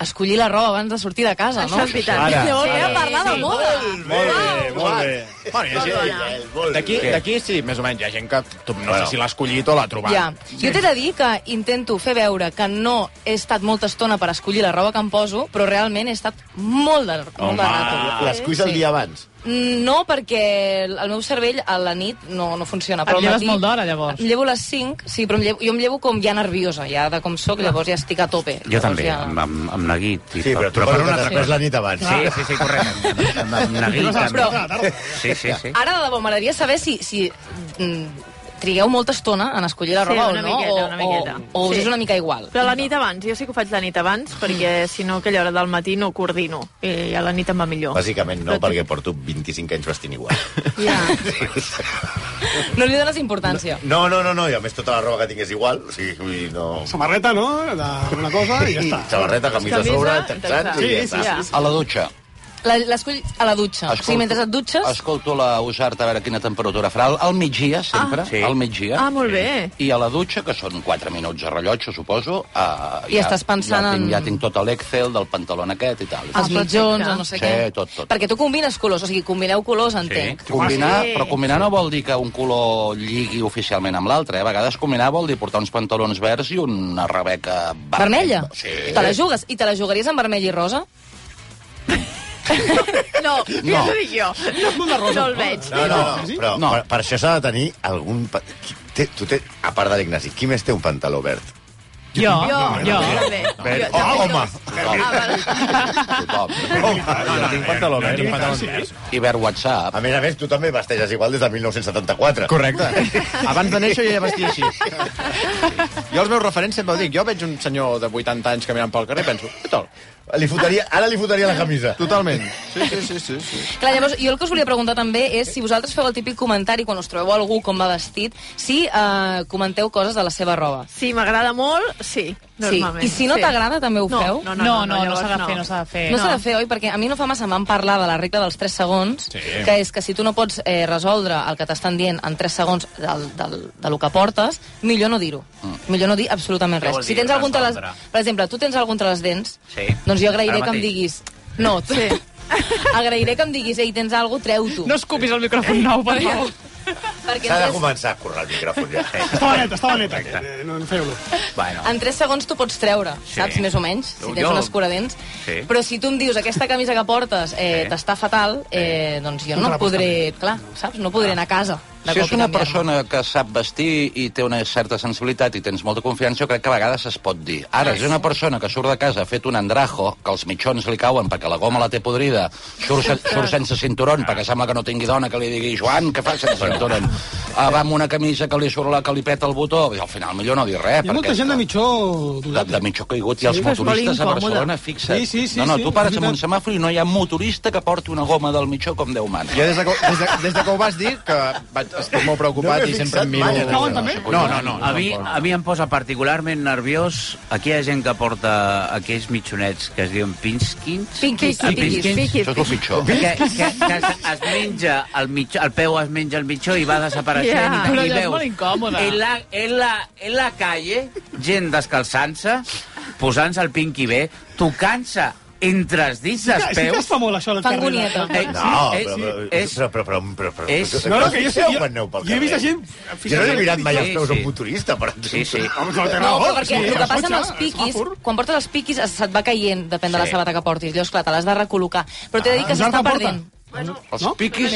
Speaker 9: Escollir la roba abans de sortir de casa, no?
Speaker 4: Això és veritat. Ara,
Speaker 9: Llavors anem
Speaker 4: ara.
Speaker 9: a parlar de
Speaker 4: Sí,
Speaker 9: moda.
Speaker 1: Molt bé, eh, molt bé. Bueno, hi ha gent-
Speaker 9: Molt bona.
Speaker 1: hi ha- D'aquí, d'aquí sí, més o menys, hi ha gent que tu, no sé si l'ha escollit o l'ha trobat.
Speaker 9: Ja. Jo t'he de dir que intento fer veure que no he estat molta estona per escollir la roba que em poso, però realment he estat molt de, molt de rato.
Speaker 2: L'esculls el
Speaker 9: Sí.
Speaker 2: dia abans.
Speaker 9: Mm, No, perquè el meu cervell a la nit no, no funciona. Però
Speaker 5: Et
Speaker 9: al
Speaker 5: lleves
Speaker 9: matí-
Speaker 5: molt d'hora, llavors.
Speaker 9: Em llevo a les 5, sí, però em llevo, jo em llevo com ja nerviosa, ja de com sóc, llavors ja estic a tope.
Speaker 3: Jo
Speaker 9: Llavors
Speaker 3: també,
Speaker 9: Ja...
Speaker 3: amb, amb, amb neguit. I
Speaker 2: Sí, però tu per una altra cosa la nit abans.
Speaker 3: Sí, sí, sí, correcte. Amb, amb, amb neguit.
Speaker 9: Però-
Speaker 3: també. Sí, sí, sí.
Speaker 9: Ara, de debò, m'agradaria saber si, si mm, trigueu molta estona en escollir la
Speaker 4: Sí,
Speaker 9: roba
Speaker 4: una
Speaker 9: o no,
Speaker 4: miqueta,
Speaker 9: o,
Speaker 4: una miqueta.
Speaker 9: o, o us
Speaker 4: Sí.
Speaker 9: és una mica igual.
Speaker 4: Però la nit abans, jo sí que ho faig la nit abans, perquè si no, aquella hora del matí no coordino. I a la nit em va millor.
Speaker 2: Bàsicament no, perquè porto 25 anys vestint igual.
Speaker 9: No li dones importància.
Speaker 2: No, no, no, no, i a més tota la roba que tinc és igual, o sigui, vull dir, no...
Speaker 8: Samarreta, no?
Speaker 1: Eh,
Speaker 8: De, una cosa i ja està.
Speaker 2: Samarreta, camisa a
Speaker 9: Camisa,
Speaker 2: sobre,
Speaker 9: texans.
Speaker 2: texans i ja està.
Speaker 9: sí, sí.
Speaker 6: A la dutxa.
Speaker 9: La- L'escull a la dutxa. O sigui, mentre et dutxes...
Speaker 6: Escolto la Usart a veure quina temperatura farà. Al, al migdia, sempre. Ah, sí. Al migdia.
Speaker 4: Ah, molt bé.
Speaker 6: I a la dutxa, que són 4 minuts a rellotge, suposo... Uh,
Speaker 9: I estàs pensant
Speaker 6: ja, tinc,
Speaker 9: en- Ah,
Speaker 6: Ja tinc tot l'Excel del pantaló aquest i tal.
Speaker 4: Ah,
Speaker 9: Els mitjons, o no sé
Speaker 6: sí,
Speaker 9: què.
Speaker 6: tot, tot.
Speaker 9: Perquè tu combines colors, o sigui, combineu colors, entenc.
Speaker 6: Combinar,
Speaker 9: Sí.
Speaker 6: però combinar no vol dir que un color lligui oficialment amb l'altre. Eh? A vegades combinar vol dir portar uns pantalons verds i una rebeca...
Speaker 9: Vermella?
Speaker 6: Sí.
Speaker 9: Te la jugues? I te la jugaries en vermell i rosa?
Speaker 4: No,
Speaker 2: No.
Speaker 4: ja t'ho dic jo. No, no el veig.
Speaker 2: No, no, però no. Per, per això s'ha de tenir algun... pa- qui Té, tu té, a part de l'Ignasi, qui més té un pantaló verd?
Speaker 5: Jo, jo.
Speaker 2: Verd.
Speaker 4: Jo,
Speaker 2: Oh, home!
Speaker 6: Tothom.
Speaker 2: Jo tinc pantaló verd. tinc pantaló verd.
Speaker 6: I verd WhatsApp.
Speaker 2: A més a més, tu també vesteixes igual des de 1974.
Speaker 1: Correcte. Abans de néixer jo ja vestia així. Jo els meus referents sempre ho dic. Jo veig un senyor de 80 anys caminant pel carrer i penso, què tal?
Speaker 2: Li fotria, ara li fotria la camisa.
Speaker 1: Totalment. Sí, sí, sí. sí, sí.
Speaker 9: Clar, llavors, jo el que us volia preguntar també és si vosaltres feu el típic comentari quan us trobeu algú com va vestit, si eh, comenteu coses de la seva roba.
Speaker 4: Si m'agrada molt, sí,
Speaker 9: Sí.
Speaker 4: normalment.
Speaker 9: I si no
Speaker 4: sí.
Speaker 9: t'agrada, també ho
Speaker 4: No,
Speaker 9: feu?
Speaker 4: No, no, no, no,
Speaker 5: no s'ha de fer, no s'ha de fer.
Speaker 3: Eh,
Speaker 9: No, s'ha de fer, oi? Perquè a mi no fa massa em van parlar de la regla dels 3 segons,
Speaker 5: Sí.
Speaker 9: que és que si tu no pots eh, resoldre el que t'estan dient en 3 segons del, del, de lo que portes, millor no dir-ho. Millor no dir absolutament
Speaker 3: Mm. Què
Speaker 9: res.
Speaker 3: vol
Speaker 9: Si
Speaker 3: dir,
Speaker 9: tens algun entre les...
Speaker 3: resoldre?
Speaker 9: Per exemple, tu tens algun entre les dents,
Speaker 3: Sí.
Speaker 9: doncs jo agrairé
Speaker 3: Ara
Speaker 9: que em
Speaker 3: mateix.
Speaker 9: diguis... No, sí. agrairé que em diguis, ei, tens alguna cosa, treu-t'ho.
Speaker 5: No escupis el micròfon nou, per favor.
Speaker 9: Perquè
Speaker 2: S'ha de
Speaker 9: en 3,
Speaker 2: començar a currar el micròfon ja.
Speaker 8: Estava net, estava net. Eh, No en feu-lo.
Speaker 3: Bueno.
Speaker 9: en 3 segons t'ho pots treure,
Speaker 3: Sí.
Speaker 9: saps, més o menys, si
Speaker 3: Jo-
Speaker 9: tens
Speaker 3: jo-
Speaker 9: un escuradents.
Speaker 3: Sí.
Speaker 9: Però si tu em dius aquesta camisa que portes eh, t'està fatal, eh, doncs jo no
Speaker 6: Contra la
Speaker 9: podré, clar, saps? No podré anar a casa. De
Speaker 6: Si
Speaker 9: cop
Speaker 6: és
Speaker 9: i
Speaker 6: una
Speaker 9: canviar.
Speaker 6: persona que sap vestir i té una certa sensibilitat i tens molta confiança, jo crec que a vegades es pot dir. Ara, si és una persona que surt de casa ha fet un andrajo, que els mitjons li cauen perquè la goma la té podrida, surt, se, surt sense cinturón perquè sembla que no tingui dona, que li digui Joan, què fas sense cinturón? Ah, va amb una camisa que li surt la que li peta el botó, i al final millor no dir res.
Speaker 8: Hi ha molta gent de mitjó... eh?
Speaker 6: de, de mitjó caigut, i els
Speaker 8: Sí, que es vol
Speaker 6: motoristes a
Speaker 8: incòmode.
Speaker 6: Barcelona, fixa't.
Speaker 8: Sí, sí, sí,
Speaker 6: no, no,
Speaker 8: sí,
Speaker 6: tu
Speaker 8: és
Speaker 6: pares amb
Speaker 8: veritat.
Speaker 6: un semàfor i no hi ha motorista que porti una goma del mitjó com Déu mana.
Speaker 1: Jo des de, que, des, de, des de que ho vas dir, que vaig, estic molt preocupat no
Speaker 3: No m'he
Speaker 1: i sempre em miro...
Speaker 3: fixat mai. Cauen
Speaker 1: no,
Speaker 3: també?
Speaker 1: no, no, no,
Speaker 3: A mi, a mi em posa particularment nerviós aquella gent que porta aquells mitjonets que es diuen pinskins.
Speaker 9: Pinkies,
Speaker 3: Ah,
Speaker 9: pinkies, pinkies.
Speaker 6: Això és el pitjor.
Speaker 3: Que, que, que es, es menja el, mitjó, el peu es menja el mitjó i va desapareixent.
Speaker 5: Ja.
Speaker 3: I, i
Speaker 5: Però allò és
Speaker 3: veus
Speaker 5: molt incòmode.
Speaker 3: En la, en la, en la calle, gent descalçant-se, posant-se el pinky bé, tocant-se entre els dits dels
Speaker 8: Sí que- sí que
Speaker 3: peus...
Speaker 8: es fa molt això al
Speaker 9: Fan carrer. gonieta.
Speaker 3: Eh,
Speaker 2: No,
Speaker 3: eh,
Speaker 2: però,
Speaker 3: sí, és-
Speaker 2: però, però, però, però, però,
Speaker 3: És-
Speaker 2: però-
Speaker 3: No, no, que jo sé,
Speaker 2: Quan
Speaker 3: jo-
Speaker 2: aneu pel
Speaker 3: jo he vist
Speaker 2: carrer?
Speaker 3: gent- fins
Speaker 2: Jo no
Speaker 3: i
Speaker 2: he
Speaker 3: tot-
Speaker 2: mirat mai
Speaker 3: Sí,
Speaker 2: els peus a
Speaker 3: sí.
Speaker 2: un motorista, per exemple.
Speaker 3: sí.
Speaker 2: Home,
Speaker 8: no, té
Speaker 9: No,
Speaker 8: raó,
Speaker 9: perquè
Speaker 8: sí,
Speaker 9: el que
Speaker 8: els
Speaker 9: passa amb els
Speaker 8: cotxes,
Speaker 9: piquis,
Speaker 8: semàfor.
Speaker 9: quan portes els piquis es- se't va caient, depèn de la
Speaker 6: Sí.
Speaker 9: sabata que portis. Llavors, clar, te l'has de recol·locar. Però t'he de dir que
Speaker 8: Ah,
Speaker 9: s'està
Speaker 8: Jordi porta.
Speaker 9: perdent.
Speaker 6: Els piquis...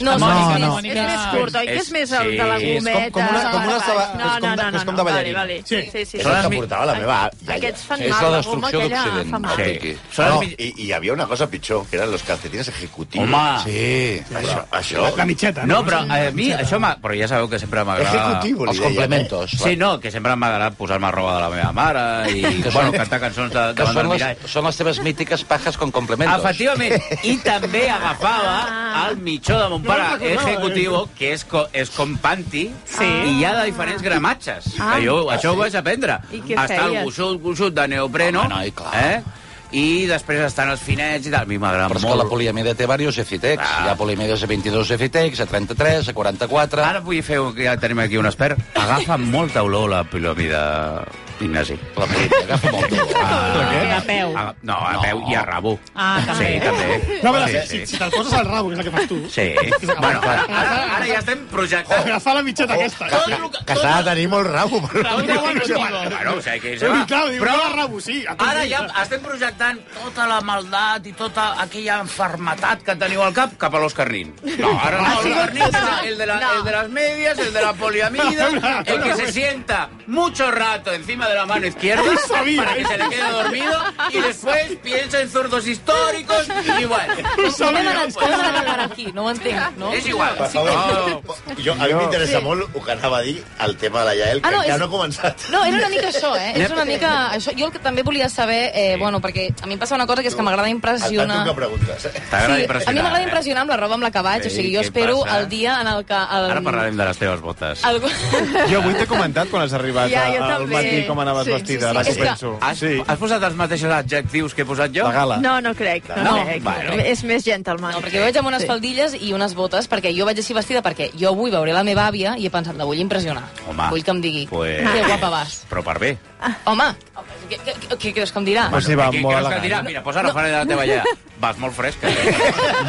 Speaker 9: No,
Speaker 4: no, no,
Speaker 9: no, no.
Speaker 4: és més curt, oi? Que és més el de la
Speaker 2: Sí, és com-
Speaker 4: gometa.
Speaker 2: com una- com una
Speaker 4: baix.
Speaker 2: saba-
Speaker 4: No,
Speaker 2: és com de-
Speaker 4: no, no,
Speaker 2: és
Speaker 4: no,
Speaker 2: com de
Speaker 4: no, vale,
Speaker 2: ballarina.
Speaker 4: vale. Sí, sí, sí.
Speaker 2: És el que portava la meva iaia.
Speaker 4: Aquests fan
Speaker 6: És
Speaker 4: mal,
Speaker 6: la
Speaker 4: la goma
Speaker 6: destrucció
Speaker 4: aquella
Speaker 6: d'Occident,
Speaker 4: fa mal.
Speaker 6: el piqui.
Speaker 2: No, i, i hi havia una cosa pitjor, que eren los calcetines ejecutius.
Speaker 3: Home.
Speaker 6: Sí.
Speaker 2: Això, això...
Speaker 8: La mitjeta,
Speaker 3: No,
Speaker 8: no?
Speaker 3: però a mi això m'ha... Però ja sabeu que sempre m'agrada...
Speaker 2: Ejecutivo, li eh?
Speaker 6: Els
Speaker 2: deien,
Speaker 6: complementos.
Speaker 3: Sí, no, que sempre m'ha agradat posar-me roba de la meva mare i
Speaker 6: Que
Speaker 3: bueno,
Speaker 6: són-
Speaker 3: cantar cançons de,
Speaker 6: Que
Speaker 3: davant del
Speaker 6: són les,
Speaker 3: mirall.
Speaker 6: són les teves mítiques pajas con complementos.
Speaker 3: Efectivament, i també agafava
Speaker 4: Ah.
Speaker 3: el mitjó de mon pare
Speaker 4: eh?
Speaker 3: executivo, que és, co, és com panty, sí. i hi ha de diferents gramatges.
Speaker 4: Ah.
Speaker 3: Ah. Que jo, això ho vaig aprendre.
Speaker 4: I què
Speaker 3: Està el
Speaker 4: feies?
Speaker 3: gruixut, gruixut de neopreno,
Speaker 6: Home, noi, clar.
Speaker 3: eh? i després estan els finets i tal. A mi m'agrada
Speaker 6: Però és que la
Speaker 3: molt. Ah.
Speaker 6: poliamida té diversos efitecs. Hi ha poliamides a 22 efitecs, a 33, a 44...
Speaker 3: Ara vull fer... un- Ja tenim aquí un expert. Agafa molta olor la pilòmida, Ignasi.
Speaker 6: La poliamida agafa molt.
Speaker 3: Ah,
Speaker 5: A peu.
Speaker 3: a, no, a peu i a rabo.
Speaker 5: Ah,
Speaker 3: Sí,
Speaker 5: també.
Speaker 3: també.
Speaker 8: No, però
Speaker 3: sí, Oh.
Speaker 8: si,
Speaker 3: sí.
Speaker 8: si te'l poses al rabo, que és el que fas tu,
Speaker 3: Sí. Bueno, ara, ara ja estem projectant.
Speaker 8: agafar la mitjeta aquesta.
Speaker 3: Tot el que...
Speaker 2: Que s'ha de tenir molt rabo. Per...
Speaker 5: Raúl de Guantigo.
Speaker 3: Bueno, o sigui, que se
Speaker 8: Però,
Speaker 3: va.
Speaker 8: clar, diu,
Speaker 3: Però
Speaker 8: no, al rabo, sí. a tu
Speaker 3: ara
Speaker 8: sí.
Speaker 3: ja estem projectant tota la maldat i tota aquella enfermetat que teniu al cap cap a l'Òscar Nin. No, ara no, l'Òscar Nin és el de, la, el de les medias, el de la poliamida, el que se sienta mucho rato encima de la mano izquierda
Speaker 8: No sabía,
Speaker 9: ¿eh?
Speaker 3: para que se le quede dormido y después piensa en zurdos históricos y igual.
Speaker 9: Com hem anat, com hem anat a parar aquí? No ho entenc, no?
Speaker 3: És igual. Oh.
Speaker 2: Per favor, jo, a mi m'interessa molt el que anava a dir el tema de la Yael, que ah,
Speaker 9: Ah, no,
Speaker 2: no, encara
Speaker 9: és-
Speaker 2: no ha començat.
Speaker 9: No, era una mica això, eh? És una mica això. Jo el que també volia saber, eh, bueno, perquè a mi em passa una cosa que és que m'agrada
Speaker 2: Al tanto
Speaker 9: impressionar...
Speaker 2: que preguntes. Eh?
Speaker 3: T'agrada
Speaker 9: Sí, a mi
Speaker 3: impressionar,
Speaker 9: m'agrada
Speaker 3: eh?
Speaker 9: impressionar amb la roba amb la que vaig, o
Speaker 3: Sí,
Speaker 9: sigui, jo
Speaker 3: què
Speaker 9: espero
Speaker 3: passa?
Speaker 9: el dia en el que... El...
Speaker 3: Ara parlarem de les teves botes.
Speaker 9: Algú...
Speaker 7: Jo avui t'he comentat quan has arribat
Speaker 4: Ja, jo
Speaker 7: a- al
Speaker 4: també.
Speaker 7: matí com anaves
Speaker 4: Sí, sí,
Speaker 7: vestida,
Speaker 4: sí,
Speaker 7: ara que
Speaker 9: sí. És
Speaker 7: ho
Speaker 9: que-
Speaker 7: penso.
Speaker 3: Has,
Speaker 7: Sí,
Speaker 3: has posat els mateixos adjectius que he posat jo?
Speaker 7: la gala.
Speaker 4: No, no crec, no,
Speaker 3: No?
Speaker 4: crec.
Speaker 3: Bueno.
Speaker 4: És més gentleman.
Speaker 9: No, perquè jo vaig amb unes
Speaker 4: Sí.
Speaker 9: faldilles i unes botes, perquè jo vaig així vestida perquè jo avui veuré la meva àvia i he pensat, la vull impressionar.
Speaker 3: Home.
Speaker 9: Vull que em digui,
Speaker 3: Pues-
Speaker 9: que guapa vas.
Speaker 3: Però per bé.
Speaker 9: Home, què, què, què, què creus que em dirà?
Speaker 7: O sigui, va
Speaker 3: Què
Speaker 7: molt
Speaker 3: creus que
Speaker 7: elegant.
Speaker 3: dirà? Mira, posa la farina de la teva iaia. Vas molt fresca. eh?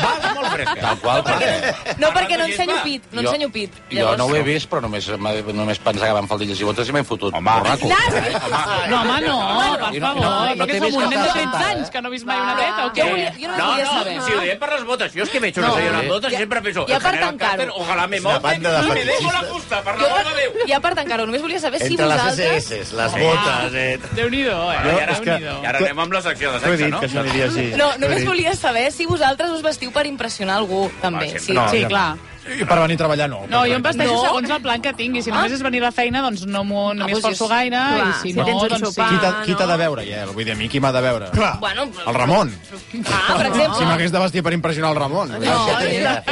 Speaker 3: Vas molt fresca.
Speaker 6: Tal qual, perquè...
Speaker 9: No, perquè no
Speaker 3: Parlant de
Speaker 9: ensenyo
Speaker 3: llet,
Speaker 9: pit, no
Speaker 6: Jo-
Speaker 9: ensenyo pit.
Speaker 6: Jo no ho he vist, però només, només pensava que van faldilles i botes i m'he fotut.
Speaker 3: Home.
Speaker 6: borraco.
Speaker 5: No, home, no, per
Speaker 6: Eh? I no-
Speaker 5: favor.
Speaker 6: no- no
Speaker 5: que
Speaker 6: t'he
Speaker 5: som
Speaker 6: vist
Speaker 5: un
Speaker 6: que
Speaker 5: nen de
Speaker 6: estàs
Speaker 5: 13
Speaker 6: sentada,
Speaker 5: anys que no ha vist mai una
Speaker 9: Va.
Speaker 5: veta o
Speaker 9: Jo
Speaker 5: què?
Speaker 9: volia- jo no
Speaker 3: No,
Speaker 9: volia
Speaker 3: no,
Speaker 9: saber.
Speaker 3: si ho diem per les botes. Jo és que veig una
Speaker 9: No.
Speaker 3: senyora amb botes
Speaker 9: Ja-
Speaker 3: i sempre penso...
Speaker 9: ja
Speaker 3: el
Speaker 9: per
Speaker 3: General
Speaker 9: tancar-ho.
Speaker 3: Carter, Ojalà me
Speaker 2: És una
Speaker 3: monten
Speaker 2: banda de
Speaker 3: i me
Speaker 2: fetitxistes.
Speaker 3: dejo la fusta, per
Speaker 9: Jo
Speaker 3: l'amor de Déu.
Speaker 9: per, ja per tancar-ho, només volia saber si
Speaker 2: Entre les
Speaker 9: vosaltres...
Speaker 2: SS,
Speaker 3: Ah.
Speaker 2: les botes... Eh?
Speaker 5: Déu-n'hi-do, eh?
Speaker 7: Jo- és que-
Speaker 5: Déu-n'hi-do.
Speaker 3: I ara anem amb la secció de
Speaker 7: T'ho he
Speaker 3: sexe,
Speaker 7: dit,
Speaker 3: no?
Speaker 7: que això aniria així.
Speaker 9: No,
Speaker 7: T'ho he
Speaker 9: només
Speaker 7: dit.
Speaker 9: volia saber si vosaltres us vestiu per impressionar algú, també.
Speaker 3: sempre.
Speaker 9: Sí.
Speaker 7: No.
Speaker 5: Sí, clar.
Speaker 4: Ah,
Speaker 1: I per venir a treballar, no.
Speaker 5: No, jo em vesteixo
Speaker 9: No.
Speaker 5: segons el plan que tingui. Si només és venir a la feina, doncs no m'ho no
Speaker 9: Ah,
Speaker 5: m'hi
Speaker 9: doncs
Speaker 5: esforço
Speaker 9: és-
Speaker 5: gaire.
Speaker 4: clar,
Speaker 5: I si,
Speaker 4: si
Speaker 5: no,
Speaker 4: tens un
Speaker 5: doncs
Speaker 4: sopar.
Speaker 5: sí.
Speaker 1: Qui t'ha
Speaker 4: Ah,
Speaker 1: qui t'ha
Speaker 4: no.
Speaker 1: de veure, Iael? Vull dir, a mi qui m'ha de veure?
Speaker 8: Clar.
Speaker 9: Bueno,
Speaker 1: El Ramon.
Speaker 9: Ah, per
Speaker 1: Si
Speaker 9: exemple.
Speaker 1: m'hagués de vestir per impressionar el Ramon.
Speaker 9: No,
Speaker 2: Si tu,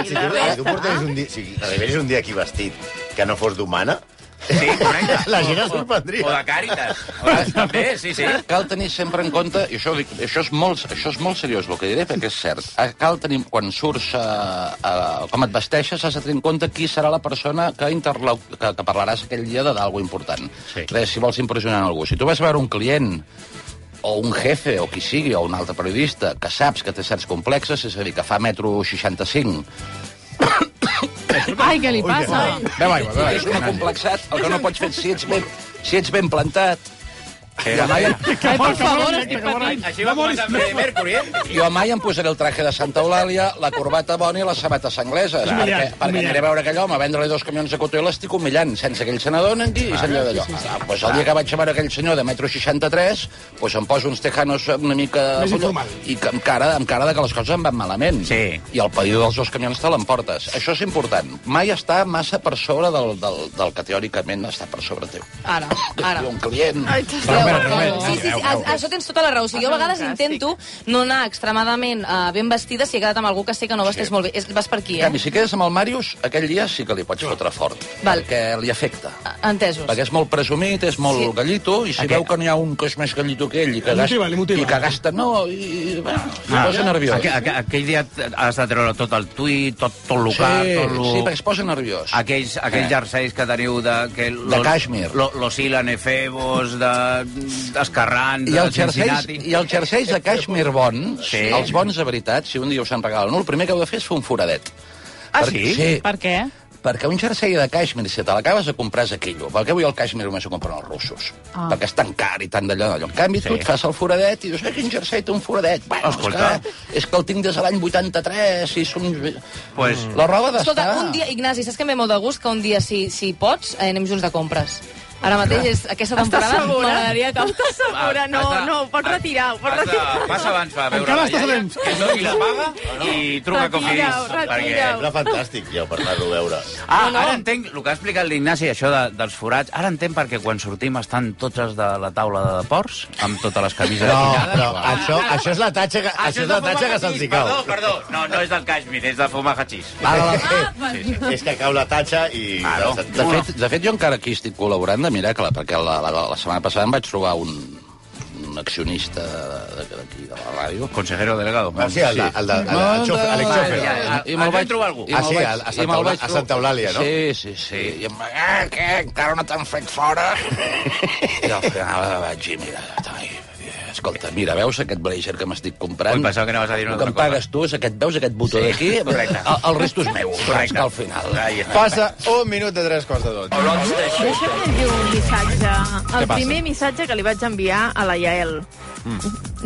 Speaker 2: si tu portes un dia... Si arribessis un dia aquí vestit que no fos d'humana,
Speaker 3: Sí, correcte.
Speaker 2: La gent
Speaker 3: O-
Speaker 2: es sorprendria.
Speaker 3: O o de càritas. O de- També, sí, sí.
Speaker 6: Cal tenir sempre en compte, i això, ho dic, això, és, molt, això és molt seriós el que diré, perquè és cert, eh, cal tenir, quan surts, a, a, com et vesteixes, has de tenir en compte qui serà la persona que, interlau, que, que parlaràs aquell dia de d'algo important.
Speaker 3: Sí.
Speaker 6: Res, si vols impressionar algú. Si tu vas a veure un client o un jefe, o qui sigui, o un altre periodista, que saps que té certs complexes, és a dir, que fa metro 65,
Speaker 5: Ai, què li passa?
Speaker 1: Beu aigua, beu
Speaker 6: que és
Speaker 1: aigua.
Speaker 6: un complexat, el que no pots fer si ets ben, si ets ben plantat, jo mai,
Speaker 5: Ai, per favor, estic patint.
Speaker 3: Així va començar Freddie Mercury, eh?
Speaker 6: jo mai em posaré el traje de Santa Eulàlia, la corbata bona i les sabates angleses, perquè, perquè aniré a veure aquell home, a vendre-li dos camions de cotó i l'estic humillant, sense que ell se n'adonen i se'n allò d'allò. Ah, doncs el dia que vaig a veure aquell senyor de metro 63, doncs em poso uns tejanos una mica...
Speaker 8: Més
Speaker 6: fulló-
Speaker 8: informal.
Speaker 6: I que, amb, cara, amb cara de que les coses em van malament.
Speaker 3: Sí.
Speaker 6: I el païdor dels dos camions te l'emportes. Això és important. Mai estar massa per sobre del, del, del que teòricament està per sobre teu.
Speaker 9: Ara,
Speaker 6: Que
Speaker 9: ara.
Speaker 6: sigui Un client...
Speaker 4: Ai, t'has-
Speaker 9: Déu,
Speaker 1: espera,
Speaker 9: Déu.
Speaker 1: espera,
Speaker 4: eh,
Speaker 9: Sí, sí, sí, a- això tens tota la raó. O sigui, jo a vegades
Speaker 4: Fantàstic.
Speaker 9: intento no anar extremadament eh, ben vestida si he quedat amb algú que sé que no vesteix molt bé. És- Vas per aquí,
Speaker 6: En canvi,
Speaker 9: eh?
Speaker 6: si quedes amb el Màrius, aquell dia sí que li pots fotre fort,
Speaker 9: Val.
Speaker 6: perquè li afecta.
Speaker 9: Entesos.
Speaker 6: Perquè és molt presumit, és molt
Speaker 9: Sí.
Speaker 6: sí. gallito, i si
Speaker 3: Aquest-
Speaker 6: veu que n'hi ha un que és més gallito que ell i que,
Speaker 8: Li motiva, li motiva.
Speaker 6: i que gasta... No, i, i, bueno, ah, es posa nerviós.
Speaker 3: Aqu aqu aquell dia t- has de treure tot el tuit, tot, tot lo
Speaker 6: sí,
Speaker 3: car, tot lo...
Speaker 6: sí, perquè es posa nerviós.
Speaker 3: Aquells, aquells
Speaker 6: Eh.
Speaker 3: jerseis que teniu de... Que
Speaker 6: De càxmir.
Speaker 3: Lo, los hilan efebos, de... escarrant
Speaker 6: I
Speaker 3: de
Speaker 6: el jerseis,
Speaker 3: Cincinnati.
Speaker 6: i el jerseis de cashmere bons, sí. els bons de veritat, si un dia us en regalen un, el primer que heu de fer és fer un foradet.
Speaker 5: Ah,
Speaker 6: Perquè-
Speaker 5: sí?
Speaker 6: Sí,
Speaker 5: Per què?
Speaker 6: perquè un jersei de cashmere, si te l'acabes de comprar, és aquillo. Per què avui el cashmere només ho compren els russos?
Speaker 5: Ah.
Speaker 6: Perquè és tan car i tan d'allò. d'allò. En canvi, sí. tu et fas el foradet i dius, eh, quin jersei té un foradet? Bueno, és que, és que el tinc des de l'any 83 i som...
Speaker 3: Pues...
Speaker 6: La roba d'estar...
Speaker 9: Escolta, un dia, Ignasi, saps que em ve molt de gust que un dia, si, si pots, eh, anem junts de compres. Ara mateix és aquesta
Speaker 4: Estàs
Speaker 9: temporada
Speaker 4: segura?
Speaker 9: m'agradaria que...
Speaker 4: Estàs segura? No,
Speaker 3: Has de-
Speaker 4: no, ho pots retirar, ho pots
Speaker 3: Has de-
Speaker 4: retirar.
Speaker 3: Ah, Passa abans a veure
Speaker 2: Encara
Speaker 3: la
Speaker 2: estàs a
Speaker 3: iaia,
Speaker 2: temps.
Speaker 3: que doni la paga i truca
Speaker 4: Retireu,
Speaker 3: com a
Speaker 4: retireu.
Speaker 2: Era fantàstic, jo, per anar-ho a veure.
Speaker 3: Ah, ara entenc el que ha explicat l'Ignasi, això de, dels forats. Ara entenc perquè quan sortim estan tots els de la taula de ports, amb totes les camises
Speaker 2: No,
Speaker 3: apinyades.
Speaker 2: però això, això és la tatxa que, això és la tatxa que se'ls hi cau.
Speaker 3: Perdó, perdó. No, no és del cashmere, és de fumar hachís.
Speaker 2: Ara la- És que cau la tatxa i...
Speaker 6: Claro. De, fet, de fet, jo encara aquí estic col·laborant de Miracle, perquè la, la, la setmana passada em vaig trobar un, un accionista de- d'aquí, de la ràdio.
Speaker 3: Consejero delegado.
Speaker 2: Ah, sí, el, de- el, de, el, de- el, xofer, Alex Xofer.
Speaker 6: I me'l vaig trobar algú.
Speaker 2: Ah, sí, a, a Santa, Eulà, a Santa Eulàlia, no?
Speaker 6: Sí, sí, sí. I em va dir, ah, què, encara no t'han fet fora? I al final vaig dir, mira, ai, escolta, mira, veus aquest blazer que m'estic comprant?
Speaker 3: Ui, pensava que anaves a dir una
Speaker 6: El que
Speaker 3: altra
Speaker 6: em pagues tu és aquest, veus aquest botó
Speaker 3: Sí,
Speaker 6: d'aquí?
Speaker 3: correcte.
Speaker 6: El, el resto és meu, saps
Speaker 3: Correcte.
Speaker 6: que al final...
Speaker 1: Passa un minut de tres quarts de tot.
Speaker 4: Deixa'm que et diu un missatge. El
Speaker 1: passa? Mm.
Speaker 4: primer missatge que li vaig enviar a la Yael.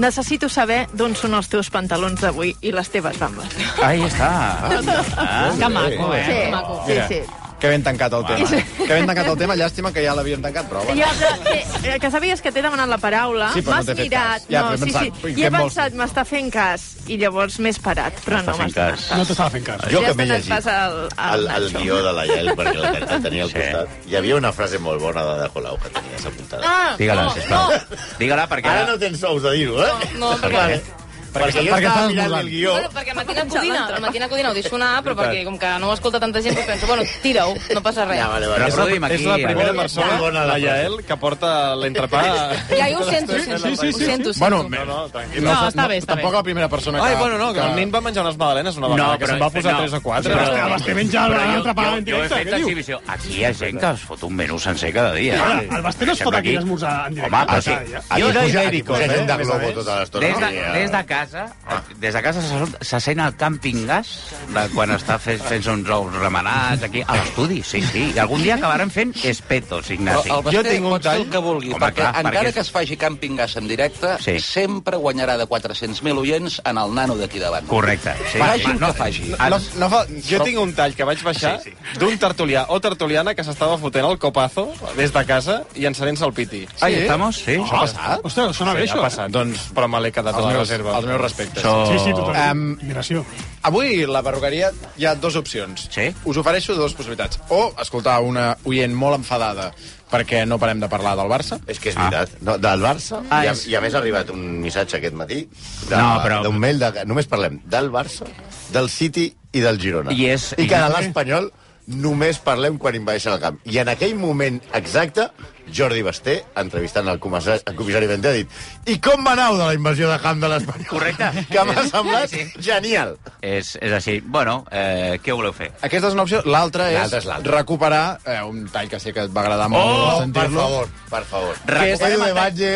Speaker 4: Necessito saber d'on són els teus pantalons d'avui i les teves bambes.
Speaker 3: Ahí està.
Speaker 4: Ah,
Speaker 1: que maco, eh?
Speaker 4: Sí, sí,
Speaker 1: Mira,
Speaker 4: sí.
Speaker 1: Que ben tancat el tema.
Speaker 4: Sí.
Speaker 1: Que ben tancat el tema, llàstima que ja l'havíem tancat, però...
Speaker 4: Ja, però, que, que sabies que t'he demanat la paraula,
Speaker 1: Sí, però no
Speaker 4: m'has
Speaker 1: t'he fet
Speaker 4: mirat,
Speaker 1: cas. Ja,
Speaker 4: no,
Speaker 1: però he
Speaker 4: sí,
Speaker 1: pensat,
Speaker 4: sí,
Speaker 1: ui,
Speaker 4: i he
Speaker 1: què em vols?
Speaker 4: pensat, m'està fent cas, i llavors m'he esperat, però no m'has fet cas.
Speaker 8: No t'estava fent cas.
Speaker 2: Jo
Speaker 4: ja
Speaker 2: que m'he
Speaker 4: has donat
Speaker 2: llegit
Speaker 4: pas al, al
Speaker 2: el, el
Speaker 4: Nacho.
Speaker 2: guió de la Yael, perquè la, la tenia al costat. Hi havia una frase molt bona de De Colau que tenies apuntada.
Speaker 4: Ah,
Speaker 3: Digue-la, sisplau. Digue-la, perquè...
Speaker 2: Ara no tens sous de dir-ho, eh?
Speaker 9: No, no, perquè-
Speaker 2: Vale. Perquè, jo estava mirant el guió...
Speaker 9: Bueno, perquè matina codina, la matina codina ho deixo anar, però perquè com que no ho escolta tanta gent, doncs penso, bueno, tira-ho, no passa res.
Speaker 2: Ja, vale,
Speaker 7: És
Speaker 2: vale.
Speaker 7: la,
Speaker 3: Reproduïm
Speaker 7: és la
Speaker 3: aquí,
Speaker 7: primera
Speaker 3: eh?
Speaker 7: persona,
Speaker 2: Molt bona la
Speaker 7: la
Speaker 2: frase.
Speaker 7: Yael, que porta l'entrepà...
Speaker 9: Ja, jo ho sento, ho
Speaker 7: Sí,
Speaker 9: sento,
Speaker 7: sí, sí,
Speaker 9: ho
Speaker 7: sí.
Speaker 9: sento. ho
Speaker 1: Bueno,
Speaker 7: No,
Speaker 9: sento.
Speaker 7: no, tranquil.
Speaker 9: No, està bé, està
Speaker 1: Tampoc
Speaker 9: bé.
Speaker 1: la primera persona que...
Speaker 7: Ai, bueno, no, que el nen va menjar unes magdalenes una vegada,
Speaker 3: No,
Speaker 7: que
Speaker 3: però-
Speaker 7: se'n va posar
Speaker 3: no.
Speaker 7: tres o quatre.
Speaker 3: Però-
Speaker 7: Però-
Speaker 8: Vas que menja
Speaker 3: Però jo,
Speaker 8: l'altra
Speaker 3: jo,
Speaker 8: paga en
Speaker 3: jo he
Speaker 8: directe,
Speaker 3: fet
Speaker 8: què diu?
Speaker 3: exhibició. Aquí hi ha gent que es fot un menú sencer cada dia.
Speaker 8: Ara,
Speaker 3: eh?
Speaker 8: el Basté no es
Speaker 3: Deixem
Speaker 8: pot
Speaker 3: d'aquí.
Speaker 8: aquí esmorzar en directe.
Speaker 3: Home, però
Speaker 8: passa, ja.
Speaker 3: sí.
Speaker 2: Aquí
Speaker 3: Jo de
Speaker 2: puja, aquí
Speaker 3: Ibéricos,
Speaker 2: puja
Speaker 3: eh?
Speaker 2: gent de
Speaker 1: Més
Speaker 2: globo
Speaker 1: a més.
Speaker 2: tota l'estona.
Speaker 3: Des de,
Speaker 2: Ja.
Speaker 6: eh.
Speaker 3: des de casa,
Speaker 6: Ah.
Speaker 3: des de casa se, sent- se sent el càmping gas de quan està fent, fent uns ous remenats aquí, a l'estudi, sí, sí. I algun dia acabaran fent espetos,
Speaker 6: Però
Speaker 3: Ignasi.
Speaker 6: el Basté
Speaker 1: Jo tinc un
Speaker 6: pot fer
Speaker 1: tall.
Speaker 6: el que vulgui,
Speaker 3: Home,
Speaker 6: perquè
Speaker 3: clar, perquè
Speaker 6: encara
Speaker 3: és-
Speaker 6: que es faci Camping Gas en directe,
Speaker 3: Sí.
Speaker 6: sempre guanyarà de 400.000 oients en el nano d'aquí davant.
Speaker 3: Correcte. Sí,
Speaker 6: Faci el
Speaker 3: no,
Speaker 6: que faci.
Speaker 1: No, no fa...
Speaker 7: Jo tinc un tall que vaig baixar sí, sí. d'un tertulià o tertuliana que s'estava fotent el copazo des de casa i encenent-se el piti.
Speaker 3: Ahí estamos, sí.
Speaker 7: Això ha passat?
Speaker 8: Ostres, sona bé,
Speaker 7: Sí, ha
Speaker 8: això.
Speaker 7: passat, doncs, però me l'he quedat
Speaker 1: Els
Speaker 7: a la
Speaker 1: meus,
Speaker 7: reserva.
Speaker 1: els meus respectes.
Speaker 3: So-
Speaker 8: Sí, sí, totalment.
Speaker 1: Em-
Speaker 8: Immigració.
Speaker 1: Avui la perruqueria hi ha dues opcions.
Speaker 3: Sí?
Speaker 1: Us ofereixo dues possibilitats. O escoltar una oient molt enfadada perquè no parem de parlar del Barça.
Speaker 2: És que és veritat. No, del Barça,
Speaker 3: Ah,
Speaker 2: i, a,
Speaker 3: és-
Speaker 2: i a més ha arribat un missatge aquest matí d'un
Speaker 3: No, però-
Speaker 2: mail de... Només parlem del Barça, del City i del Girona.
Speaker 3: I és-
Speaker 2: I que
Speaker 3: i-
Speaker 2: de l'Espanyol només parlem quan invadeixen el camp. I en aquell moment exacte, Jordi Basté, entrevistant el comissari, el comissari Vendé, ha dit i com va anar de la invasió de camp de l'Espanyol?
Speaker 3: Correcte.
Speaker 2: Que m'ha
Speaker 3: Sí,
Speaker 2: semblat
Speaker 3: sí.
Speaker 2: genial.
Speaker 3: És, és així. Bueno, eh, què voleu fer?
Speaker 1: Aquesta és una opció. L'altra és,
Speaker 2: L'altra és l'altra. Oh,
Speaker 1: recuperar eh, un tall que sé que et va agradar molt
Speaker 2: per
Speaker 1: sentir-lo.
Speaker 2: favor, per favor.
Speaker 1: Que és
Speaker 3: Recuperem
Speaker 1: Edu
Speaker 3: el
Speaker 1: de Batlle.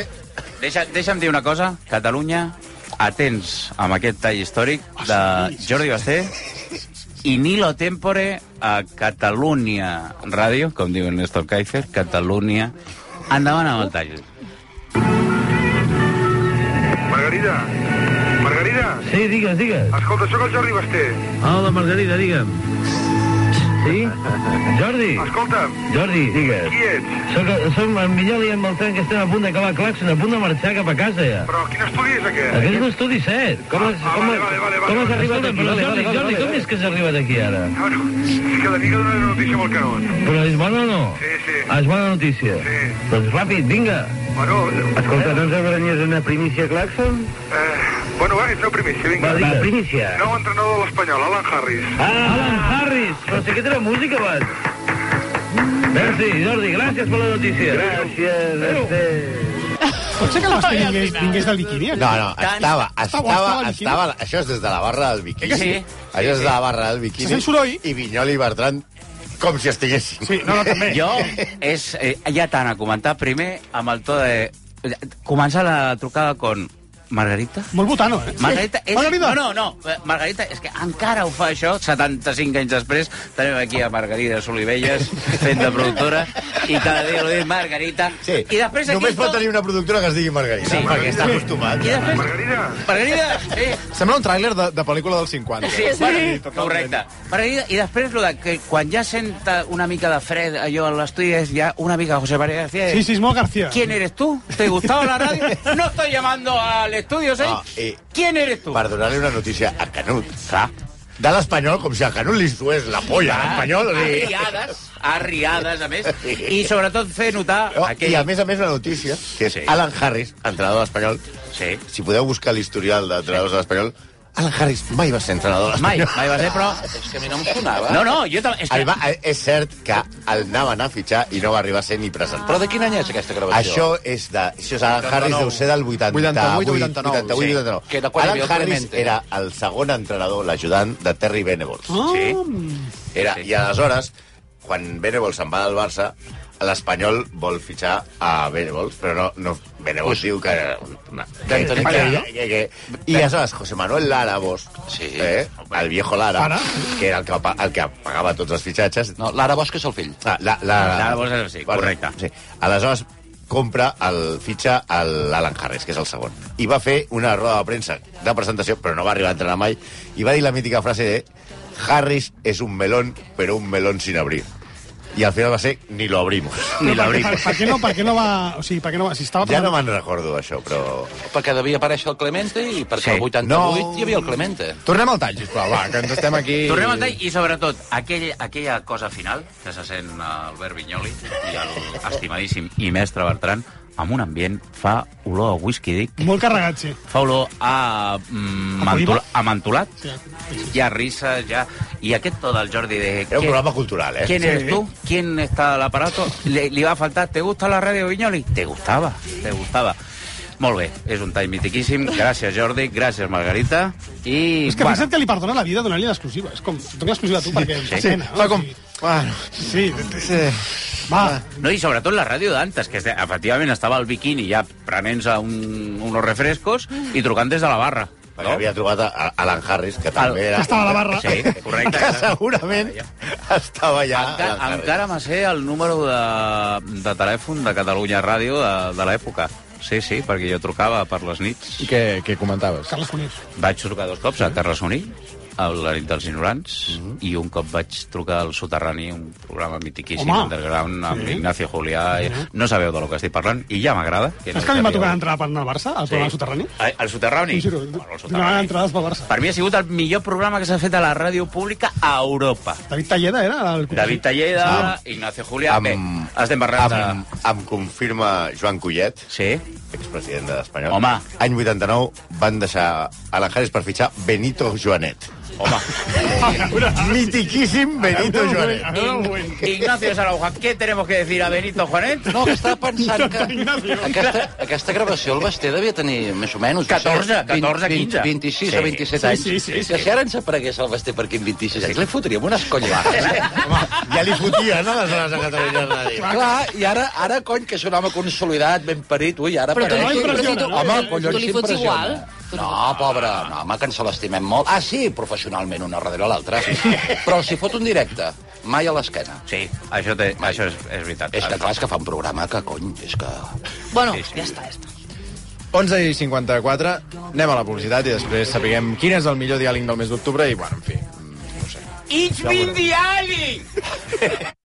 Speaker 3: Deixa, deixa'm dir una cosa. Catalunya, atents amb aquest tall històric de Jordi Basté i Nilo Tempore a Catalunya Ràdio, com diu el Néstor Kaiser, Catalunya. Endavant amb el tall.
Speaker 14: Margarida, Margarida. Sí, digues, digues. Escolta, sóc el Jordi Basté. Hola, Margarida, digue'm. Sí? Jordi? Escolta'm. Jordi. Digues. Qui ets? Soc, soc en Miquel i en Beltran, que estem a punt d'acabar Claxon, a punt de marxar cap a casa ja. Però quin estudi és aquest? Aquest és l'estudi 7. Com, has, ah, com, vale, vale, vale, com has arribat aquí? Jordi, Jordi, com és que has arribat aquí ara? Bueno, és que l'amiga dona una notícia molt canon. Però és bona o no? Sí, sí. Ah, és bona notícia? Sí. Doncs ràpid, vinga. Bueno, Escolta, no ens agradaries una primícia, Claxon?
Speaker 16: Bueno, va, és la primícia, vinga.
Speaker 14: Va, digues. Va, primícia.
Speaker 16: Nou entrenador de l'Espanyol, Alan Harris.
Speaker 14: Ah, Alan Harris, però si aquesta era música abans. Merci, Jordi, gràcies per la notícia. Gràcies, Este.
Speaker 8: Pot ser que l'Basté vingués, vingués del biquini?
Speaker 2: No, no, estava,
Speaker 8: Estava, estava,
Speaker 2: estava, estava, això és des de la barra del biquini.
Speaker 8: Sí.
Speaker 2: Això és de la barra del
Speaker 8: Se
Speaker 2: biquini.
Speaker 8: sent soroll.
Speaker 2: I Vinyoli i Bertran com si estiguessin.
Speaker 8: Sí, no, no, també.
Speaker 3: Jo és, eh, ja tant a comentar primer amb el to de Comença la trucada con... Margarita?
Speaker 8: Molt botano, eh?
Speaker 3: Margarita és...
Speaker 8: Margarida.
Speaker 3: No, no, no. eh, Margarita, és que encara ho fa això, 75 anys després. Tenim aquí a Margarida Solivelles, fent de productora, i cada dia ho dic Margarita. Sí. I després aquí...
Speaker 2: Només pot tenir una productora que es digui Margarida. Sí, perquè està acostumat.
Speaker 3: I després... Margarida! Margarida, sí.
Speaker 1: Sembla un tràiler de, de pel·lícula dels 50.
Speaker 3: Sí, sí. correcte. Margarida, I després, lo de que quan ja senta una mica de fred allò a l'estudi, és ja una mica José María García.
Speaker 8: Sí, sí, es molt García.
Speaker 3: ¿Quién eres tú? ¿Te gustaba la radio? No estoy llamando al estudio, ¿sí?
Speaker 2: Ah, eh,
Speaker 3: ¿Quién eres tú?
Speaker 2: Per donar-li una notícia a Canut. Clar. De l'Espanyol, com si a Canut li sués la polla, a l'Espanyol. Sí.
Speaker 3: Arriades, arriades, Ah, a més. I sobretot fer notar...
Speaker 2: No,
Speaker 3: aquell-
Speaker 2: I a més a més una notícia, que és sí. Alan Harris, entrenador de l'Espanyol.
Speaker 3: Sí.
Speaker 2: Si podeu buscar l'historial d'entrenadors sí. de l'Espanyol, Alan Harris mai va ser entrenador de l'Espanyol.
Speaker 3: Mai, mai va ser, però-
Speaker 6: És que a mi no em sonava.
Speaker 3: No, no, jo també...
Speaker 2: És, que... va, eh, és cert que el anaven a fitxar i no va arribar a ser ni present.
Speaker 6: Però de quin any és aquesta gravació?
Speaker 2: Això és de... Això és Alan Harris, deu ser del 88.
Speaker 6: 88, 89,
Speaker 2: 88,
Speaker 6: sí.
Speaker 2: 89.
Speaker 6: Que era quan hi
Speaker 2: Alan
Speaker 6: havia el
Speaker 2: Harris
Speaker 6: Clemente.
Speaker 2: era el segon entrenador, l'ajudant de Terry Venables.
Speaker 8: Oh.
Speaker 2: Era, I aleshores, quan Venables se'n va del Barça, l'Espanyol vol fitxar a Venables, però no, no Venables diu que... No, que, que, que, que, que, I aleshores, José Manuel Lara, vos, sí. eh, el viejo Lara,
Speaker 6: Ara.
Speaker 2: que era el que, pa- el que pagava tots els fitxatges...
Speaker 6: No, Lara Bosch és el fill.
Speaker 2: Ah, la, la,
Speaker 3: Lara Bosch és el- sí, correcte.
Speaker 2: Sí. Aleshores, compra el fitxa a l'Alan Harris, que és el segon. I va fer una roda de premsa de presentació, però no va arribar a entrenar mai, i va dir la mítica frase de Harris és un melón, però un melón sin abrir. I al final va ser ni lo abrimos.
Speaker 8: No, per, per, per, què no, per què no va... O sigui, per què no va... Si estava
Speaker 2: Ja no me'n recordo, això, però...
Speaker 6: Perquè devia aparèixer el Clemente i
Speaker 2: Sí.
Speaker 6: perquè sí. el 88
Speaker 2: No.
Speaker 6: no. hi havia el Clemente.
Speaker 1: Tornem al tall, sisplau, va, que ens estem aquí...
Speaker 3: Tornem al tall i, sobretot, aquell, aquella cosa final que se sent Albert Vinyoli i el estimadíssim i mestre Bertran amb un ambient fa olor a whisky, dic.
Speaker 8: Molt carregat, sí.
Speaker 3: Fa olor a, mm,
Speaker 8: A
Speaker 3: mantula,
Speaker 8: poliva?
Speaker 3: a mantulat.
Speaker 8: Sí.
Speaker 3: Hi ha risa, ja... I aquest to del Jordi de...
Speaker 2: Era un programa cultural, eh?
Speaker 3: ¿Quién
Speaker 2: Sí.
Speaker 3: eres tú? ¿Quién está al aparato? Le, li va a faltar, ¿te gusta la radio Vinyoli? Te gustava, te gustava. Molt bé, és un tall mitiquíssim. Gràcies, Jordi, gràcies, Margarita. I,
Speaker 8: És que fixa't que li perdona la vida donant-li l'exclusiva. És com, dona l'exclusiva a tu, perquè...
Speaker 3: sí.
Speaker 8: pena,
Speaker 3: Fa
Speaker 8: com...
Speaker 1: Bueno,
Speaker 8: sí. sí. Va,
Speaker 3: No, i sobretot la ràdio d'antes, que este- efectivament estava al biquini ja prenent-se un, unos refrescos i trucant des de la barra.
Speaker 2: Perquè havia trobat a- a Alan Harris, que també era...
Speaker 3: estava a la barra. Sí, correcte.
Speaker 2: Que segurament estava ja...
Speaker 3: Enca,
Speaker 2: Alan Harris.
Speaker 3: encara me sé el número de, de telèfon de Catalunya Ràdio de, de l'època. Sí, sí, perquè jo trucava per les nits.
Speaker 1: I què, què comentaves?
Speaker 8: Carles Conés.
Speaker 3: Vaig trucar dos cops a Terra Soní, a la nit dels ignorants,
Speaker 8: Mhm.
Speaker 3: mm -hmm. i un cop vaig trucar al Soterrani, un programa mitiquíssim,
Speaker 8: Home.
Speaker 3: underground, amb
Speaker 8: Sí.
Speaker 3: sí. Ignacio Julià... Sí. No sabeu de lo que estic parlant, i ja m'agrada.
Speaker 8: Saps que a mi em va tocar entrar per anar al Barça, al
Speaker 3: Sí.
Speaker 8: programa Soterrani?
Speaker 3: El, el Soterrani?
Speaker 8: Sí, sí,
Speaker 3: Bueno, el
Speaker 8: Donaven
Speaker 3: Soterrani.
Speaker 8: entrades pel Barça.
Speaker 3: Per mi ha sigut el millor programa que s'ha fet a la ràdio pública a Europa.
Speaker 8: David Talleda era el...
Speaker 3: David Talleda, Ignacio Julià... Amb... Bé, estem parlant de...
Speaker 2: Em, em confirma Joan Collet,
Speaker 3: sí?
Speaker 2: expresident de l'Espanyol.
Speaker 3: Home.
Speaker 2: Any 89 van deixar a la Harris per fitxar Benito Joanet.
Speaker 3: Home.
Speaker 2: Mitiquíssim Benito Joanet.
Speaker 8: Ah,
Speaker 3: Ign- Ignacio Sarauja, ¿qué tenemos que decir a Benito Juanet?
Speaker 6: No, que estava pensant que aquesta, aquesta gravació el Basté devia tenir més o menys...
Speaker 3: 14, 14, 15.
Speaker 6: 26
Speaker 3: Sí.
Speaker 6: o 27
Speaker 3: Sí,
Speaker 6: anys.
Speaker 3: sí, sí, sí.
Speaker 6: Que si ara ens aparegués el Basté per aquí amb 26 anys, li fotríem unes collades.
Speaker 2: Ja li fotien, no, aleshores, a Catalunya Ràdio.
Speaker 6: Clar, i ara, ara, cony, que és un home consolidat, ben parit, ui, ara...
Speaker 9: Però tu
Speaker 6: pareix-
Speaker 9: no l'impressiona, no?
Speaker 6: Home,
Speaker 9: Tu
Speaker 6: collons,
Speaker 9: li fots
Speaker 6: impressiona.
Speaker 9: igual?
Speaker 6: No, pobre, no, home, que ens l'estimem molt. Ah, sí, professionalment, una darrere l'altra. Però si fot un directe, mai a l'esquena.
Speaker 3: Sí, això, té, això és, és veritat.
Speaker 6: És que clar, és que fa un programa que, cony, és que...
Speaker 9: Bueno, ja està, ja està.
Speaker 1: 11 i 54, anem a la publicitat i després sapiguem quin és el millor diàleg del mes d'octubre i, bueno, en fi.
Speaker 3: It's been the